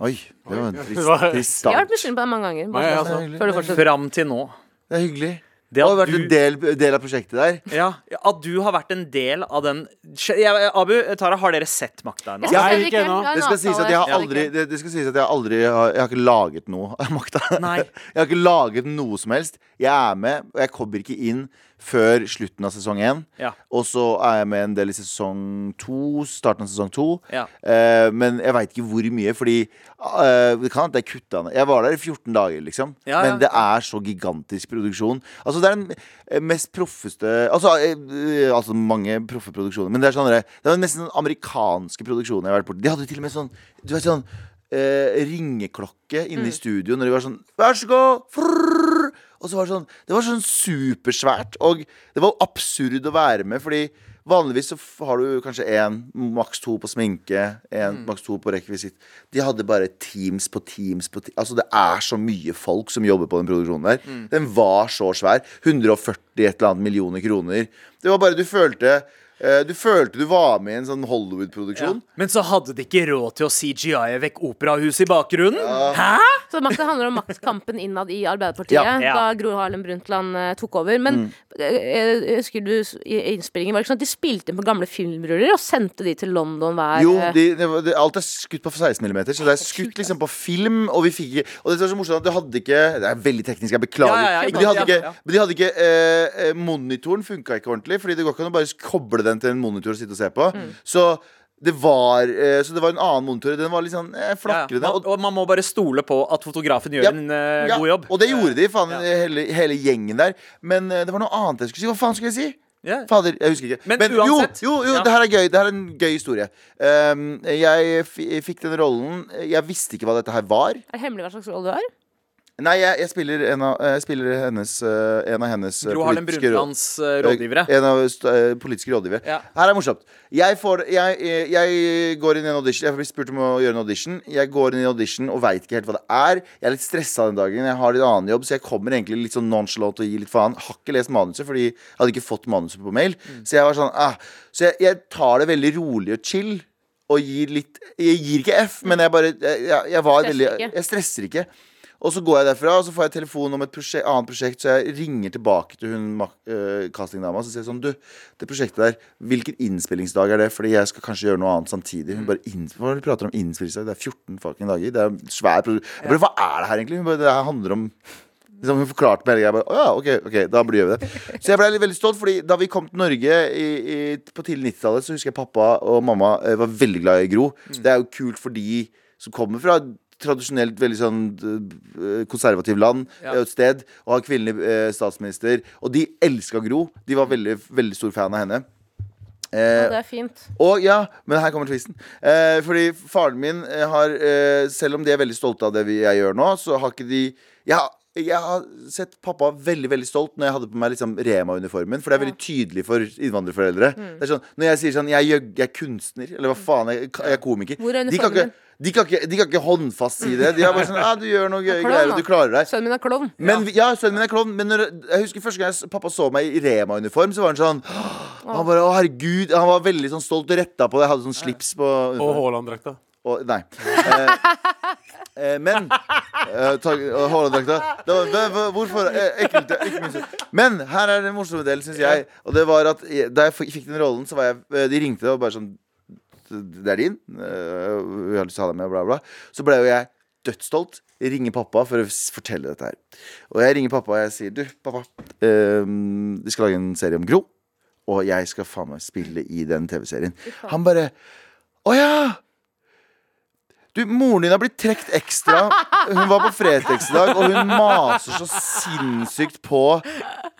Speaker 4: Oi, det var en trist,
Speaker 3: Hva-
Speaker 4: trist
Speaker 1: Jeg har vært
Speaker 4: start.
Speaker 1: misunnelig på deg mange ganger.
Speaker 3: Nei,
Speaker 1: Bare
Speaker 3: altså.
Speaker 1: sånn, Før du fortsetter.
Speaker 2: Fram til nå.
Speaker 4: Det er hyggelig.
Speaker 2: Det
Speaker 4: Du
Speaker 2: at
Speaker 4: har vært
Speaker 2: du-
Speaker 4: en del, del av prosjektet der.
Speaker 2: ja, at du har vært en del av den jeg, Abu, Tara, har dere sett 'Makta' ennå?
Speaker 1: Jeg synes
Speaker 3: Jeg
Speaker 1: det er
Speaker 3: ikke
Speaker 1: ikke-
Speaker 3: ennå.
Speaker 1: vi har en
Speaker 4: Det skal
Speaker 1: avtale,
Speaker 4: sies at jeg har
Speaker 1: jeg synes
Speaker 4: aldri
Speaker 1: ikke.
Speaker 4: det, det skal sies at jeg aldri har, Jeg har ikke laget noe av makta.
Speaker 2: Nei.
Speaker 4: Jeg har ikke laget noe som helst. Jeg er med, og jeg kommer ikke inn før slutten av sesong én.
Speaker 2: Ja.
Speaker 4: Og så er jeg med en del i sesong to, starten av sesong to.
Speaker 2: Ja.
Speaker 4: Eh, men jeg veit ikke hvor mye, fordi eh, det kan at jeg kutta ned Jeg var der i 14 dager, liksom.
Speaker 2: Ja, ja.
Speaker 4: Men det er så gigantisk produksjon. Altså, det er den eh, mest proffeste Altså, eh, eh, altså mange proffe produksjoner, men det er sånn der- Det var nesten sånn amerikanske produksjoner jeg har vært borti. De hadde til og med sånn Du vet
Speaker 2: Mm.
Speaker 4: sånn eh, ringeklokke inne i studio når de var sånn Vær så god! Frrrr! Og så var det sånn Det var sånn supersvært. Og det var jo absurd å være med, fordi vanligvis så f- har du kanskje én, maks to på sminke, én, maks to på rekvisitt. De hadde bare teams på teams på teams. Altså, det er så mye folk som jobber på den produksjonen der. Den var så svær. 140 et eller annet millioner kroner. Det var bare Du følte eh, Du følte du var med i en sånn Hollywood-produksjon.
Speaker 2: Men så hadde de ikke råd til å CGI-e vekk operahuset i bakgrunnen. Hæ?
Speaker 1: Så makt, det handler om maktkampen innad i Arbeiderpartiet,
Speaker 2: Ja, ja.
Speaker 1: da Gro Harlem Brundtland eh, tok over. Men
Speaker 4: Mm.
Speaker 1: eh, eh, husker du s- i i innspillingen, var det ikke sånn at de spilte inn på gamle filmruller og sendte de til London hver
Speaker 4: Jo,
Speaker 1: eh,
Speaker 4: de, det var- det, alt er skutt på 16 mm, så det er skutt liksom på film. Og vi fikk ikke Og det som er så morsomt at du hadde ikke Det er veldig teknisk, jeg beklager.
Speaker 2: Ja, ja, ja, ikke
Speaker 4: men de hadde
Speaker 2: sant,
Speaker 4: ikke,
Speaker 2: ja, ja.
Speaker 4: men de hadde ikke eh, eh, Monitoren funka ikke ordentlig, Fordi det går ikke an å bare koble den til en monitor og sitte og se på.
Speaker 2: Mm.
Speaker 4: Så det var eh, Så det var en annen monitor. Den var litt sånn
Speaker 2: Ja,
Speaker 4: eh, flakrende.
Speaker 2: ja.
Speaker 4: og-
Speaker 2: Man, og man må bare stole på at fotografen gjør
Speaker 4: Ja.
Speaker 2: en eh,
Speaker 4: ja,
Speaker 2: god jobb.
Speaker 4: Og det gjorde de, faen, hele, hele gjengen der. Men eh, det var noe annet jeg skulle si. Hva faen skulle jeg si?
Speaker 2: Ja.
Speaker 4: Fader, jeg husker ikke.
Speaker 2: Men uansett-
Speaker 4: jo, jo, jo
Speaker 2: Ja.
Speaker 4: det her er gøy. Det her er en gøy historie. Ehm, jeg f fikk den rollen. Jeg visste ikke hva dette her var.
Speaker 1: Er det hemmelig hva slags rolle du har?
Speaker 4: Nei, jeg, jeg spiller en av, jeg spiller hennes, eh, en av hennes eh,
Speaker 2: Gro Harlem
Speaker 4: politiske råd-
Speaker 2: Brundtlands eh, rådgivere.
Speaker 4: En av st- eh, politiske rådgivere.
Speaker 2: Ja.
Speaker 4: Her er det morsomt. Jeg, får, jeg, eh, jeg går inn i en audition. Jeg blir spurt om å gjøre en audition. Jeg går inn i en audition og veit ikke helt hva det er. Jeg er litt stressa den dagen. Jeg har litt annen jobb, så jeg kommer egentlig litt sånn nonchalant og gir litt faen. Har ikke lest manuset, fordi jeg hadde ikke fått manuset på mail.
Speaker 2: Mm.
Speaker 4: Så jeg var sånn ah. Så jeg, jeg tar det veldig rolig og chill. Og gir litt Jeg gir ikke F, men jeg bare Jeg, jeg, jeg var
Speaker 1: Stresser
Speaker 4: veldig
Speaker 1: ikke.
Speaker 4: Jeg stresser ikke. Og så går jeg derfra, og så får jeg telefon om et prosje- annet prosjekt, så jeg ringer tilbake til hun mak- øh, castingdama og så sier jeg sånn Du, det prosjektet der, hvilken innspillingsdag er det? Fordi jeg skal kanskje gjøre noe annet samtidig.
Speaker 1: Mm.
Speaker 4: Hun bare inns- Hva er det du prater om innspillingsdag? Det er 14 fucking dager. Det er svær produ- Jeg bare, Hva er det her egentlig? Hun bare, det her handler om Liksom hun forklarte meg hele greia. Jeg bare, «Å ja, ok, ok, da blir- gjør vi det. Så jeg ble litt veldig stolt, fordi da vi kom til Norge i, i, på tidlig 90-tallet, så husker jeg pappa og mamma eh, var veldig glad i Gro. Det er jo kult for de som kommer fra tradisjonelt veldig sånn eh, konservativ land
Speaker 2: Ja.
Speaker 4: eh, et sted, og har kvinnelig eh, statsminister. Og de elska Gro. De var veldig, veldig stor fan av henne.
Speaker 1: Ja,
Speaker 4: Eh,
Speaker 1: det er fint.
Speaker 4: og ja, men her kommer twisten. Eh, fordi faren min eh, har eh, Selv om de er veldig stolte av det vi, jeg gjør nå, så har ikke de jeg, har- jeg har sett pappa veldig veldig stolt når jeg hadde på meg liksom Rema-uniformen. For det er veldig tydelig for innvandrerforeldre.
Speaker 1: Mm.
Speaker 4: Det er sånn, Når jeg sier sånn jeg, er gjøg- jeg er kunstner, eller hva faen, jeg, jeg er komiker.
Speaker 1: Hvor er
Speaker 4: de, kan
Speaker 1: uniformen?
Speaker 4: ikke, de, kan ikke, de kan ikke håndfast si det. De er bare sånn Ja, du gjør noe gøy
Speaker 1: Klovn,
Speaker 4: greier, og du
Speaker 1: da.
Speaker 4: klarer deg.
Speaker 1: Sønnen min er klovn.
Speaker 4: Men, vi- ja, sønnen min er klovn, men når, jeg husker første gang jeg s- pappa så meg i Rema-uniform, så var han sånn Han bare, å herregud Han var veldig sånn stolt og retta på det. Jeg hadde sånn slips på
Speaker 3: Og
Speaker 4: uniformen.
Speaker 3: Haaland-drakta.
Speaker 4: Og, nei. Eh, eh, men eh, takk, og Haaland-drakta. Det var- det var- Hvorfor? Eh, ekkelt, det er ikke min skyld. Men her er den morsomme delen, syns jeg. Og det var at jeg, da jeg fikk fikk den rollen, så var jeg eh, De ringte og bare sånn Det er din. eh, Vi har lyst til å ha deg med, bla, bla. Så ble jo jeg dødsstolt. Jeg ringer pappa for å s- fortelle dette her. Og jeg ringer pappa og jeg sier Du, pappa. eh, vi skal lage en serie om Gro. Og jeg skal faen meg spille i den TV-serien. Han bare Å ja! Du, moren din har blitt trukket ekstra. Hun var på Fretex i dag, og hun maser så sinnssykt på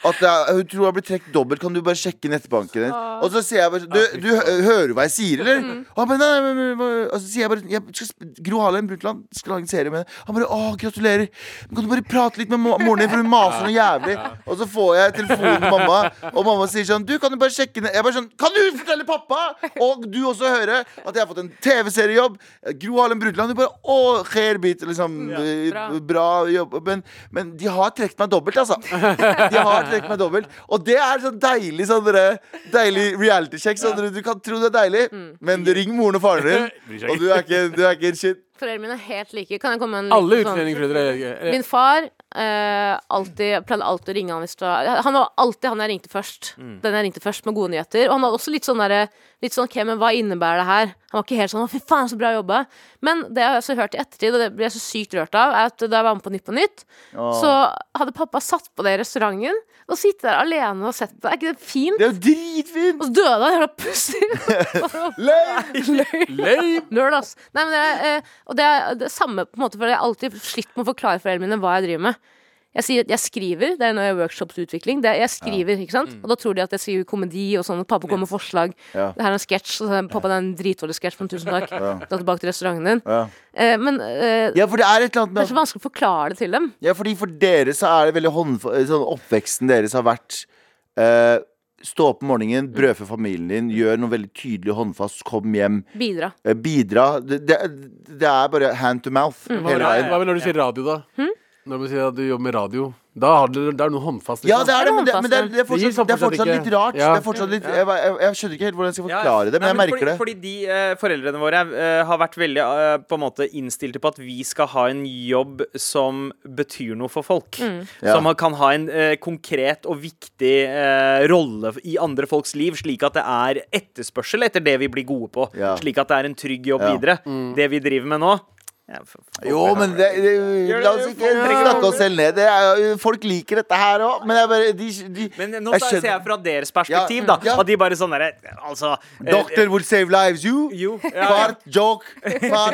Speaker 4: at det er, hun tror hun har blitt trukket dobbelt. Kan du bare sjekke nettbanken din? Og så sier jeg bare Du, du hø- hører jo hva jeg sier, eller? Og, han bare, nei, nei, men- men- og så sier jeg bare jeg skal, sp- Gro Harlem Brundtland skal lage en serie med henne. Han bare Å, gratulerer. Men kan du bare prate litt med mo- moren din, for hun maser noe jævlig? Og så får jeg telefonen med mamma, og mamma sier sånn Du, kan du bare sjekke ned Jeg bare sånn Kan du fortelle pappa, og du også høre, at jeg har fått en TV-seriejobb? Gro Harlem Brundtland. Du bare Å, Gerbit, liksom. eh,
Speaker 1: bra.
Speaker 4: bra jobb. Men, men de har trukket meg dobbelt, altså. De har trukket meg dobbelt. Og det er sånn deilig sånn dere- deilig reality-sjekk. Sånn dere- du kan tro det er deilig, men ring moren og faren
Speaker 3: Mm. Bryr
Speaker 4: din,
Speaker 3: seg ikke.
Speaker 4: og du er ikke, du er ikke en shit.
Speaker 1: Foreldrene mine er helt like. Kan jeg komme med en
Speaker 3: Alle
Speaker 1: liten sånn-
Speaker 3: utlendingsforeldre eh, er- er-
Speaker 1: Min far eh, alltid, pleide alltid å ringe han hvis det var Han var alltid han jeg ringte først. Den jeg ringte først med gode nyheter. Og han hadde også litt sånn derre Litt sånn OK, men hva innebærer det her? Han var ikke helt sånn Å, fy faen, så bra jobba. Men det jeg har også hørt i ettertid, og det ble jeg så sykt rørt av, er at da jeg var med på Nytt på Nytt, så hadde pappa satt på det i restauranten og sittet der alene og sett på. Er ikke det fint?
Speaker 4: Det er jo
Speaker 1: Og
Speaker 4: dritfint!
Speaker 1: så døde han, jævla pussig.
Speaker 4: Løy!
Speaker 1: Løy! Nerd, ass. Nei, men det er, eh, og det er det samme på en måte, for jeg har alltid slitt med å forklare foreldrene mine hva jeg driver med. Jeg sier at jeg skriver, det er når jeg har workshopsutvikling. Det er, jeg skriver, ikke sant? Og da tror de at jeg skriver komedi og sånn, og pappa kommer med forslag.
Speaker 4: Mm. Ja.
Speaker 1: Det her er en sketsj, og så sier jeg, pappa det er en dritdårlig sketsj, men tusen takk. Dra tilbake til restauranten din.
Speaker 4: Ja.
Speaker 1: Eh, men eh,
Speaker 4: Ja, for det er et eller annet
Speaker 1: det
Speaker 4: med
Speaker 1: er så vanskelig å forklare det til dem.
Speaker 4: Ja, fordi for dere så er det veldig håndf sånn Oppveksten deres har vært eh, Stå opp om morgenen,
Speaker 2: Mm.
Speaker 4: brødfø familien din, gjør noe veldig tydelig og håndfast, kom hjem,
Speaker 1: Bidra.
Speaker 4: eh, bidra. Det, det, det er bare hand to mouth
Speaker 2: Mm.
Speaker 3: Hva
Speaker 4: hele
Speaker 3: med,
Speaker 4: veien.
Speaker 3: hva med når du sier radio, da? Når du sier at du jobber med radio, da har du, da er det noe håndfast. liksom.
Speaker 4: Ja, det er det, men
Speaker 1: Det
Speaker 4: det,
Speaker 1: er
Speaker 4: men det, er, det, er,
Speaker 3: håndfast,
Speaker 4: fortsatt, det er
Speaker 3: det gir
Speaker 4: fortsatt
Speaker 3: samfunnet
Speaker 4: litt rart.
Speaker 3: ikke-
Speaker 4: Det er fortsatt litt, jeg, jeg, jeg skjønner ikke helt hvordan jeg skal forklare det, men jeg
Speaker 2: Nei,
Speaker 4: merker det.
Speaker 2: fordi, Fordi de eh, foreldrene våre eh, har vært veldig eh, på en måte innstilte på at vi skal ha en jobb som betyr noe for folk.
Speaker 4: Ja.
Speaker 2: Som kan ha en eh, konkret og viktig eh, rolle i andre folks liv, slik at det er etterspørsel etter det vi blir gode på.
Speaker 4: Ja.
Speaker 2: Slik at det er en trygg jobb
Speaker 4: Ja.
Speaker 2: videre. Det vi driver med nå ja, for- for-
Speaker 4: Jo, men det, det, la oss ikke snakke oss selv ned. Det er, jo- folk liker dette her òg, men jeg bare de, de,
Speaker 2: Men eh, nå
Speaker 4: jeg
Speaker 2: ser
Speaker 4: skjønner-
Speaker 2: jeg fra deres perspektiv,
Speaker 4: Ja,
Speaker 2: da.
Speaker 4: ja.
Speaker 2: At de bare sånn derre Altså eh,
Speaker 4: Doctor will save lives, you!
Speaker 2: Jo. ja, ja.
Speaker 4: Fart, joke,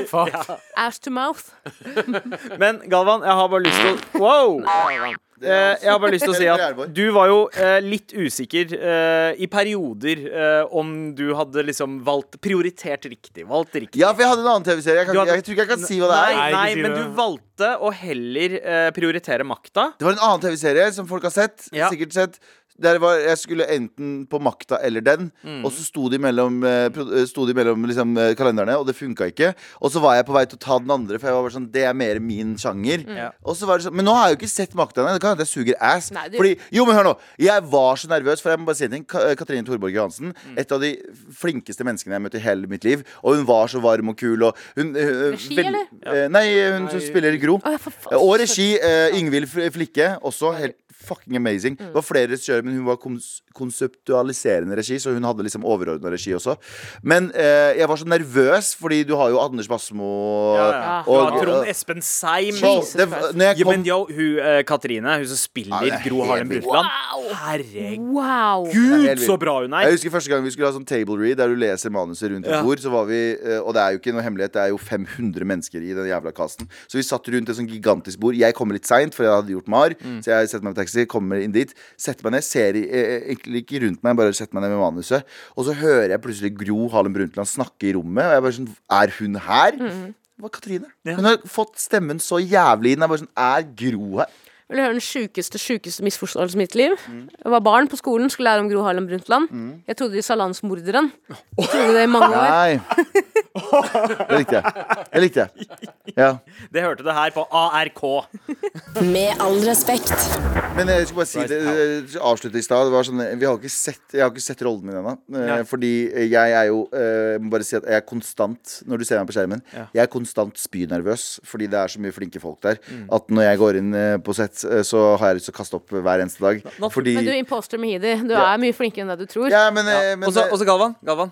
Speaker 4: fart.
Speaker 1: Ass to mouth.
Speaker 2: Men Galvan, jeg har bare lyst til å Wow! Eh, jeg har bare lyst til å si at du var jo eh, litt usikker eh, i perioder eh, om du hadde liksom valgt prioritert riktig. Valgt riktig.
Speaker 4: Ja, for jeg hadde en annen TV-serie. Jeg, kan
Speaker 2: Du
Speaker 4: ikke-
Speaker 2: hadde-
Speaker 4: jeg tror ikke jeg kan si hva det
Speaker 2: Nei,
Speaker 4: er.
Speaker 3: Nei, ikke
Speaker 2: nei
Speaker 3: si
Speaker 2: men
Speaker 3: det.
Speaker 2: du valgte å heller eh, prioritere makta.
Speaker 4: Det var en annen TV-serie som folk har sett.
Speaker 2: Ja.
Speaker 4: Sikkert sett der var, Jeg skulle enten på Makta eller den,
Speaker 1: Mm.
Speaker 4: og så sto de mellom, eh, pro- eh, sto de mellom liksom, eh, kalenderne, og det funka ikke. Og så var jeg på vei til å ta den andre, for jeg var bare sånn, det er mer min sjanger.
Speaker 1: Mm.
Speaker 2: Ja.
Speaker 4: Og så var det sånn, Men nå har jeg jo ikke sett Makta ennå. Det kan hende jeg suger ass.
Speaker 1: Nei, du-
Speaker 4: Fordi, jo, men hør nå. Jeg var så nervøs, for jeg må bare si en ting. Ka- eh, Katrine Thorborg Johansen,
Speaker 1: Mm.
Speaker 4: et av de flinkeste menneskene jeg har møtt i hele mitt liv. Og hun var så varm og kul, og hun eh,
Speaker 1: Regi,
Speaker 4: vel-
Speaker 1: eller?
Speaker 4: eh, Nei, hun som spiller i Gro.
Speaker 1: Å, jeg får faen-
Speaker 4: Og regi eh, Ingvild Fl- Flikke, også helt fucking amazing. Det var flere regissører, men hun var kons konseptualiserende regi, så hun hadde liksom overordna regi også. Men eh, jeg var så nervøs, fordi du har jo Anders Basmo
Speaker 2: Ja, Du har
Speaker 4: og-
Speaker 2: Trond Espen Seim.
Speaker 4: Wow,
Speaker 1: Jesus
Speaker 4: det,
Speaker 1: Christ.
Speaker 4: når jeg
Speaker 2: Ja, men
Speaker 4: kom
Speaker 2: yo, hun eh, Katrine, hun som spiller
Speaker 4: Ja, det er
Speaker 2: Gro Harlem
Speaker 4: helt vilt.
Speaker 2: Brundtland. Herregud,
Speaker 1: Wow.
Speaker 4: Det er helt
Speaker 2: så
Speaker 4: vilt.
Speaker 2: bra hun
Speaker 4: jeg
Speaker 2: er!
Speaker 4: husker første gang vi skulle ha sånn table read, der du leser manuset rundt et
Speaker 2: Ja.
Speaker 4: bord. Så var vi, eh, og det er jo ikke noe hemmelighet, det er jo 500 mennesker i den jævla casten. Så vi satt rundt et sånn gigantisk bord. Jeg kommer litt seint, for jeg hadde gjort mar. Så jeg setter meg på taxi, kommer inn dit, setter meg ned, ser i- eh, egentlig ikke rundt meg, bare setter meg ned med manuset. Og så hører jeg plutselig Gro Harlem Brundtland snakke i rommet, og jeg bare sånn Er hun her? Det var Katrine. Hun har fått stemmen så jævlig inn. Jeg bare sånn Er Gro her?
Speaker 1: Vil du høre den sjukeste sjukeste misforståelsen i mitt liv? Jeg var barn på skolen, skulle lære om Gro Harlem Brundtland. Jeg trodde de sa landsmorderen. Jeg trodde det i mange år.
Speaker 4: Nei. Det likte jeg. Det likte jeg. Ja.
Speaker 2: Det hørte du her på ARK.
Speaker 6: Med all respekt.
Speaker 4: Men jeg skulle bare si det, eh, avslutte i stad. Det var Sånn, vi har ikke sett, jeg har ikke sett rollen min ennå. eh,
Speaker 2: Nei.
Speaker 4: Fordi jeg er jo eh, Jeg må bare si at jeg er konstant Når du ser meg på skjermen,
Speaker 2: Ja.
Speaker 4: jeg er konstant spynervøs. Fordi det er så mye flinke folk der.
Speaker 2: Mm.
Speaker 4: At når jeg går inn eh, på sett, eh, så har jeg lyst til å kaste opp hver eneste dag.
Speaker 2: nå-
Speaker 4: Fordi
Speaker 1: Men du er imposter Mehidi. Du
Speaker 4: Ja.
Speaker 1: er mye flinkere enn det du tror.
Speaker 4: Ja, men, eh, men
Speaker 2: Og så
Speaker 4: eh,
Speaker 2: og så Galvan. Galvan.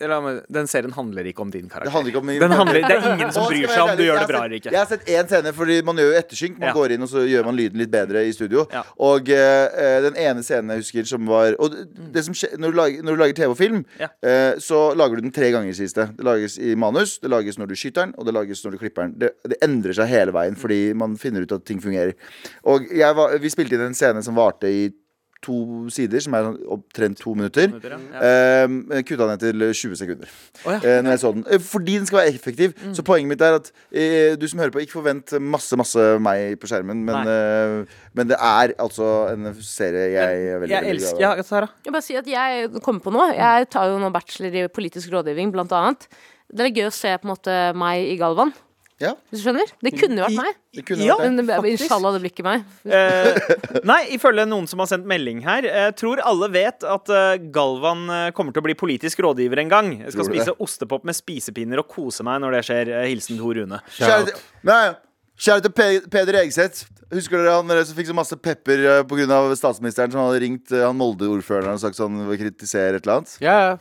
Speaker 2: La meg- Den serien handler ikke om din karakter.
Speaker 4: det handler ikke om min-
Speaker 2: Den handler, det er ingen som
Speaker 4: Og
Speaker 2: bryr
Speaker 4: skal jeg
Speaker 2: seg om
Speaker 4: være
Speaker 2: du
Speaker 4: ærlig,
Speaker 2: gjør det
Speaker 4: jeg
Speaker 2: bra
Speaker 4: har
Speaker 2: eller
Speaker 4: sett-
Speaker 2: ikke.
Speaker 4: Jeg har sett én scene, fordi man gjør jo ettersynk. Man
Speaker 2: Ja.
Speaker 4: går inn, og så gjør man lyden litt bedre i studio.
Speaker 2: Ja.
Speaker 4: Og eh, eh, den ene scenen jeg husker som var Og det, det som skje, når, du lager, når du lager TV og film,
Speaker 2: Ja.
Speaker 4: eh, så lager du den tre ganger, sies det. Det lages i manus, det lages når du skyter den, og det lages når du klipper den. Det, det endrer seg hele veien fordi man finner ut at ting fungerer. Og jeg var, vi spilte inn en scene som varte i to sider, som er sånn opptrent to minutter.
Speaker 2: minutter, ja.
Speaker 4: Um, kutta ned til 20 sekunder.
Speaker 2: Å, ja. Mm.
Speaker 4: eh, når jeg så den Eh, Fordi den skal være effektiv. Så poenget mitt er at eh, du som hører på, ikke forvent masse masse meg på skjermen, men, eh, men det er altså en serie jeg er veldig,
Speaker 2: Jeg
Speaker 4: veldig
Speaker 2: elsker
Speaker 4: glad i.
Speaker 2: ja, Sara.
Speaker 1: Jeg bare si at jeg kommer på noe. Jeg tar jo nå bachelor i politisk rådgivning, blant annet. Det er gøy å se på en måte meg i Galvan.
Speaker 4: Ja.
Speaker 1: Hvis du skjønner? Det kunne vært meg.
Speaker 4: Det kunne
Speaker 2: Ja.
Speaker 4: vært det.
Speaker 1: Men det- Inshallah, det blir ikke meg.
Speaker 2: Eh, nei, ifølge noen som har sendt melding her, eh, tror alle vet at eh, Galvan eh, kommer til å bli politisk rådgiver en gang. Jeg skal
Speaker 4: Tror du
Speaker 2: spise
Speaker 4: det?
Speaker 2: ostepop med spisepinner og kose meg når det skjer. Eh, hilsen Tor Rune.
Speaker 4: Kjære til, nei, kjære til Pe- Peder Egseth. Husker dere han eh, som fikk så masse pepper eh, på grunn av statsministeren som hadde ringt eh, han Molde-ordføreren og sagt sånn kritiserer et eller annet?
Speaker 3: Ja, ja.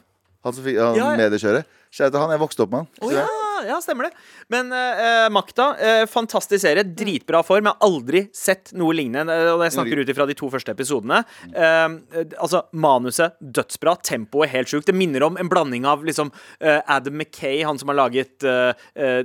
Speaker 4: Han som fikk han
Speaker 2: Ja, ja.
Speaker 4: mediekjøret. Kjære til han. Jeg vokste opp med han.
Speaker 2: Ja, ja, stemmer det. Men eh, eh, Makta, eh, fantastisk serie. Dritbra form. Jeg har aldri sett noe lignende. eh, Og jeg snakker ut ifra de to første episodene. Eh, eh, altså, Manuset dødsbra. Tempoet helt sjukt. Det minner om en blanding av liksom eh, Adam McKay, han som har laget eh, eh,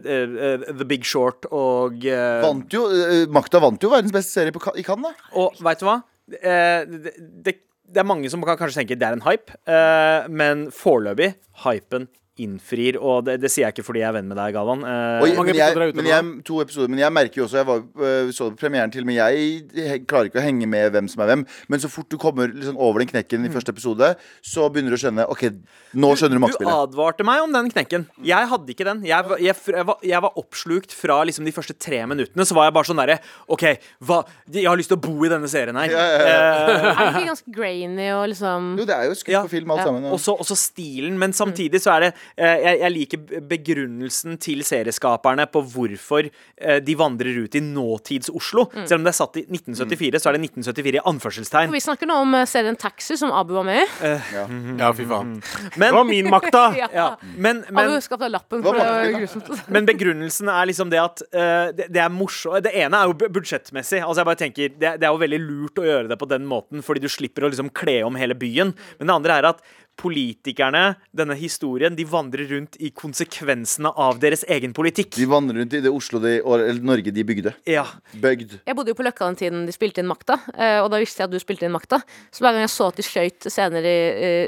Speaker 2: eh, The Big Short og eh,
Speaker 4: Vant jo, eh, Makta vant jo verdens beste serie på, Ca- i Cannes, da.
Speaker 2: Og veit du hva? Eh, det, det, det er mange som kan kanskje tenke det er en hype, eh, men foreløpig hypen innfrir. Og det, det sier jeg ikke fordi jeg er venn med deg, Galvan. Eh,
Speaker 4: Og, jeg-
Speaker 3: Hvor mange
Speaker 4: men, jeg,
Speaker 3: episoder er ute
Speaker 4: men
Speaker 3: nå?
Speaker 4: jeg, to episoder, men jeg merker jo også Jeg var, øh, så det på premieren til, men jeg he- klarer ikke å henge med hvem som er hvem. Men så fort du kommer liksom over den knekken i første episode, så begynner du å skjønne OK, nå skjønner du
Speaker 2: Du
Speaker 4: maktspillet.
Speaker 2: advarte meg om den knekken. Jeg hadde ikke den. Jeg, var- jeg, fr- jeg, var, jeg var oppslukt fra liksom de første tre minuttene. Så var jeg bare sånn derre OK, hva, jeg har lyst til å bo i denne serien her. Eh,
Speaker 1: Er det ikke ganske grainy og liksom
Speaker 4: Jo, det er jo skutt
Speaker 2: Ja.
Speaker 4: på film, alt
Speaker 2: Ja.
Speaker 4: sammen. Og,
Speaker 2: Også, også stilen, men samtidig så er det eh, jeg, jeg liker b- begrunnelsen til serieskaperne på hvorfor eh, de vandrer ut i nåtids-Oslo.
Speaker 3: Mm.
Speaker 2: Selv om det er satt i 1974, så er det 1974 i anførselstegn.
Speaker 1: Vi snakker nå om eh, serien Taxi, som Abu var med i.
Speaker 3: Ja, fy faen.
Speaker 4: Mm.
Speaker 2: Men,
Speaker 3: Det var min makt, da.
Speaker 1: Ja.
Speaker 2: ja, men, men,
Speaker 1: Abu skapte lappen,
Speaker 4: Hva
Speaker 1: for det
Speaker 4: var
Speaker 1: var
Speaker 4: det?
Speaker 1: grusomt.
Speaker 2: Men begrunnelsen er liksom det at eh, det, det er morsomt Det ene er jo bu- budsjettmessig. Altså jeg bare tenker det, det er jo veldig lurt å gjøre det på den måten, fordi du slipper å liksom kle om hele byen. Men det andre er at politikerne, denne historien, de vandrer rundt i konsekvensene av deres egen politikk.
Speaker 4: de vandrer rundt i det Oslo de, og- eller Norge de bygde.
Speaker 2: Ja.
Speaker 4: Bygd.
Speaker 1: Jeg bodde jo på Løkka den tiden de spilte inn Makta, eh, og da visste jeg at du spilte inn Makta. Så hver gang jeg så at de skøyt scener i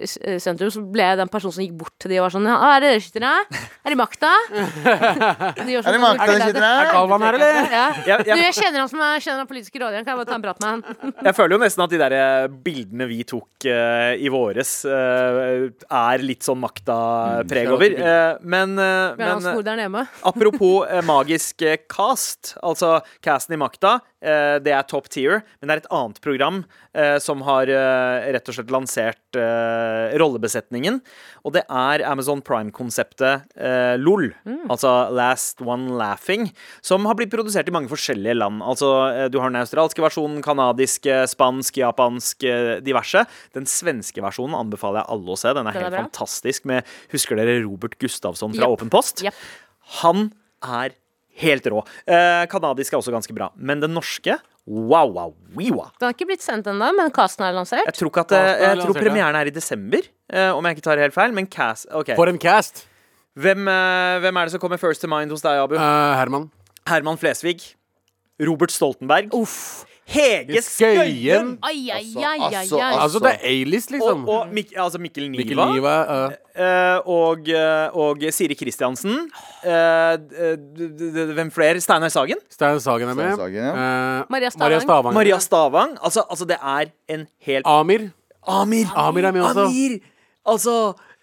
Speaker 1: eh, s- eh, sentrum, så ble jeg den personen som gikk bort til de og var sånn «Ja, Er det dere skyttere? Er det Makta? De gjør sånn-
Speaker 4: Er det Makta de sitter her?
Speaker 3: Galvan her, eller?
Speaker 1: Ja.
Speaker 2: Jeg,
Speaker 1: Du,
Speaker 2: jeg,
Speaker 1: jeg kjenner han som er, kjenner han politiske rådgiveren. Kan jeg bare ta en prat med han?
Speaker 2: jeg føler jo nesten at de der eh, bildene vi tok eh, i våres, eh, er litt sånn makta-preg over. Eh, men, eh,
Speaker 1: Bjørn Hans
Speaker 2: men
Speaker 1: Mor der nede.
Speaker 2: Apropos eh, magisk eh, cast, altså casten i makta, eh, det er top tier, men det er et annet program eh, som har eh, rett og slett lansert eh, rollebesetningen, og det er Amazon Prime-konseptet eh, LOL,
Speaker 1: Mm.
Speaker 2: altså Last One Laughing, som har blitt produsert i mange forskjellige land. Altså, eh, du har den australske versjonen, kanadisk, eh, spansk, japansk, eh, diverse. Den svenske versjonen anbefaler jeg alle å se, den er
Speaker 1: Den er
Speaker 2: helt
Speaker 1: bra.
Speaker 2: fantastisk med, husker dere Robert Gustafsson fra
Speaker 1: Japp.
Speaker 2: Åpen Post?
Speaker 1: Japp.
Speaker 2: Han er helt rå. Eh, kanadisk er også ganske bra. Men den norske wow, wow, wiwa.
Speaker 1: Den har ikke blitt sendt ennå, men casten er
Speaker 2: Jeg
Speaker 1: lansert.
Speaker 2: tror, ikke at, eh, jeg tror
Speaker 3: Lansert, ja.
Speaker 2: premieren er i desember, eh, om jeg ikke tar helt feil. Men Cass OK.
Speaker 3: For en cast.
Speaker 2: Hvem, eh, hvem er det som kommer first to mind hos deg, Abu?
Speaker 3: Eh, Herman.
Speaker 2: Herman Flesvig. Robert Stoltenberg.
Speaker 1: Uff.
Speaker 2: Hege Skøyen.
Speaker 3: Skøyen.
Speaker 1: Ai, ai,
Speaker 4: Altså,
Speaker 1: ai, ai,
Speaker 4: altså,
Speaker 1: ai.
Speaker 3: Altså, det er A-list, liksom.
Speaker 2: Og, og Mik altså Mikkel Niva.
Speaker 3: Mikkel Niva. eh,
Speaker 2: eh, og, eh, og Siri Kristiansen. Eh, d- d- d- hvem flere? Steinar Sagen.
Speaker 3: Stein Sagen er med.
Speaker 4: Stein Sagen, ja.
Speaker 3: Eh,
Speaker 1: Maria Stavang.
Speaker 3: Maria Stavang.
Speaker 2: Maria Stavang. Altså, altså, det er en helt
Speaker 3: Amir.
Speaker 2: Amir.
Speaker 3: Amir er med også.
Speaker 2: Amir. Altså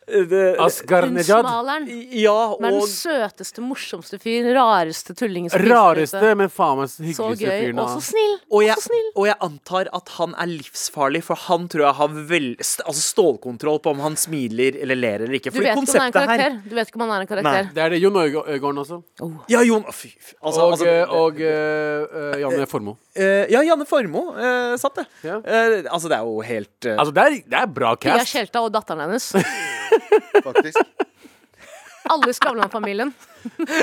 Speaker 2: eh, det-
Speaker 3: Asghar
Speaker 1: Hun
Speaker 3: Nejad.
Speaker 1: smaleren.
Speaker 2: Ja,
Speaker 1: Men
Speaker 2: og
Speaker 1: den søteste, morsomste fyren. Rareste tullingen. som finnes der
Speaker 3: Rareste,
Speaker 1: ute.
Speaker 3: men faen meg
Speaker 1: Så
Speaker 3: hyggeligste
Speaker 1: gøy,
Speaker 3: fyren.
Speaker 1: og
Speaker 3: da.
Speaker 1: så snill.
Speaker 2: og
Speaker 1: Og
Speaker 2: jeg,
Speaker 1: så snill.
Speaker 2: og jeg antar at han er livsfarlig, for han tror jeg har vel, st altså stålkontroll på om han smiler eller ler eller ikke.
Speaker 1: Du
Speaker 2: For
Speaker 1: vet, ikke om han er en
Speaker 2: konseptet her
Speaker 1: karakter. du vet ikke om han er en karakter.
Speaker 3: Det er det Jon Øyg- Øygarden også.
Speaker 2: Ja, Jon å, fy, fy, altså,
Speaker 3: Og,
Speaker 2: altså,
Speaker 3: eh, og eh, eh, Janne Formoe.
Speaker 2: eh, Ja, Janne Formoe eh, satt det.
Speaker 3: Ja.
Speaker 2: Eh, altså, det er jo helt eh,
Speaker 3: Altså, det er, det er bra
Speaker 1: Pia
Speaker 3: cast.
Speaker 1: Tjelta og datteren hennes.
Speaker 4: Faktisk.
Speaker 1: Alle i Skavlan-familien.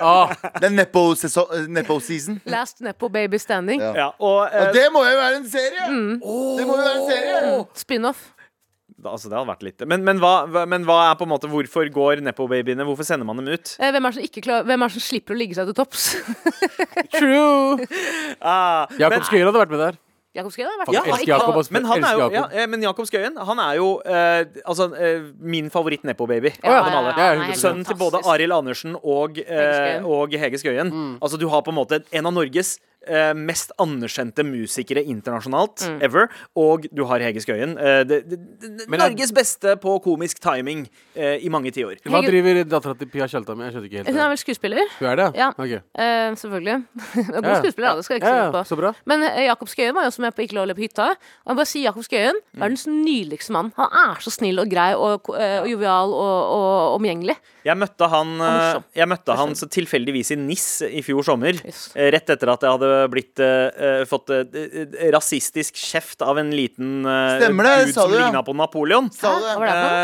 Speaker 3: Ah,
Speaker 4: Det er nepo-season. Nepo season.
Speaker 1: Last Nepo Baby Standing.
Speaker 4: Ja.
Speaker 2: ja, og, eh,
Speaker 4: Og det må jo være en serie! Det må jo være en serie!
Speaker 1: Spin-off.
Speaker 2: Altså, det hadde vært litt Men, men, hva, hva- men hva er på en måte Hvorfor går Nepo-babyene? Hvorfor sender man dem ut?
Speaker 1: Eh, Hvem er, det som ikke klar, hvem er det som slipper å ligge seg til topps?
Speaker 3: true!
Speaker 2: Ah,
Speaker 3: Jakob Skøyen hadde vært med der.
Speaker 1: Jakob Skøyen har vært
Speaker 3: Ja,
Speaker 1: med.
Speaker 3: elsker
Speaker 1: Ikke
Speaker 3: Jakob,
Speaker 1: han.
Speaker 3: ass.
Speaker 2: Men, han er jo,
Speaker 3: Elsker
Speaker 2: ja,
Speaker 3: Jakob.
Speaker 2: eh, men Jakob Skøyen han er jo eh, altså, eh, min favoritt Nepo-baby.
Speaker 1: Ja,
Speaker 2: av dem alle.
Speaker 1: ja, ja,
Speaker 3: Ja,
Speaker 1: ja,
Speaker 2: Sønnen til både
Speaker 1: fantastisk.
Speaker 2: Arild Andersen og, eh,
Speaker 1: Hege Skøyen. Mm.
Speaker 2: og Hege Skøyen. Altså, du har på en måte en av Norges eh, mest anerkjente musikere internasjonalt
Speaker 1: Mm.
Speaker 2: ever. Og du har Hege Skøyen. Eh, det, det, det,
Speaker 3: Men er-
Speaker 2: Norges beste på komisk timing eh, i mange tiår.
Speaker 3: Hva driver dattera til Pia Tjelta med? Jeg skjønner ikke helt.
Speaker 1: Hun er
Speaker 3: det.
Speaker 1: vel skuespiller?
Speaker 3: Hun er det?
Speaker 1: Ja.
Speaker 3: Ok.
Speaker 1: Eh, selvfølgelig. God
Speaker 3: Ja, ja.
Speaker 1: skuespiller, ja. Det skal jeg ikke se
Speaker 3: Ja, ja,
Speaker 1: bort på.
Speaker 3: så bra.
Speaker 1: Men eh, Jakob Skøyen var jo også med på Ikke lov å le på hytta. Og jeg bare sier Jakob Skøyen
Speaker 2: Mm.
Speaker 1: verdens nydeligste mann. Han er så snill og grei og, eh, og jovial og, og omgjengelig.
Speaker 2: Jeg møtte han, eh,
Speaker 1: morsom.
Speaker 2: jeg møtte han så tilfeldigvis i NIS i fjor sommer.
Speaker 1: Yes.
Speaker 2: eh, Rett etter at jeg hadde eh, blitt eh, eh, fått eh, eh, rasistisk kjeft av en liten eh,
Speaker 4: Stemmer det,
Speaker 2: dude
Speaker 4: sa
Speaker 2: som
Speaker 4: du, ja.
Speaker 2: ligna på Napoleon.
Speaker 4: Sa
Speaker 1: Hva
Speaker 4: du det?
Speaker 1: var det for noe?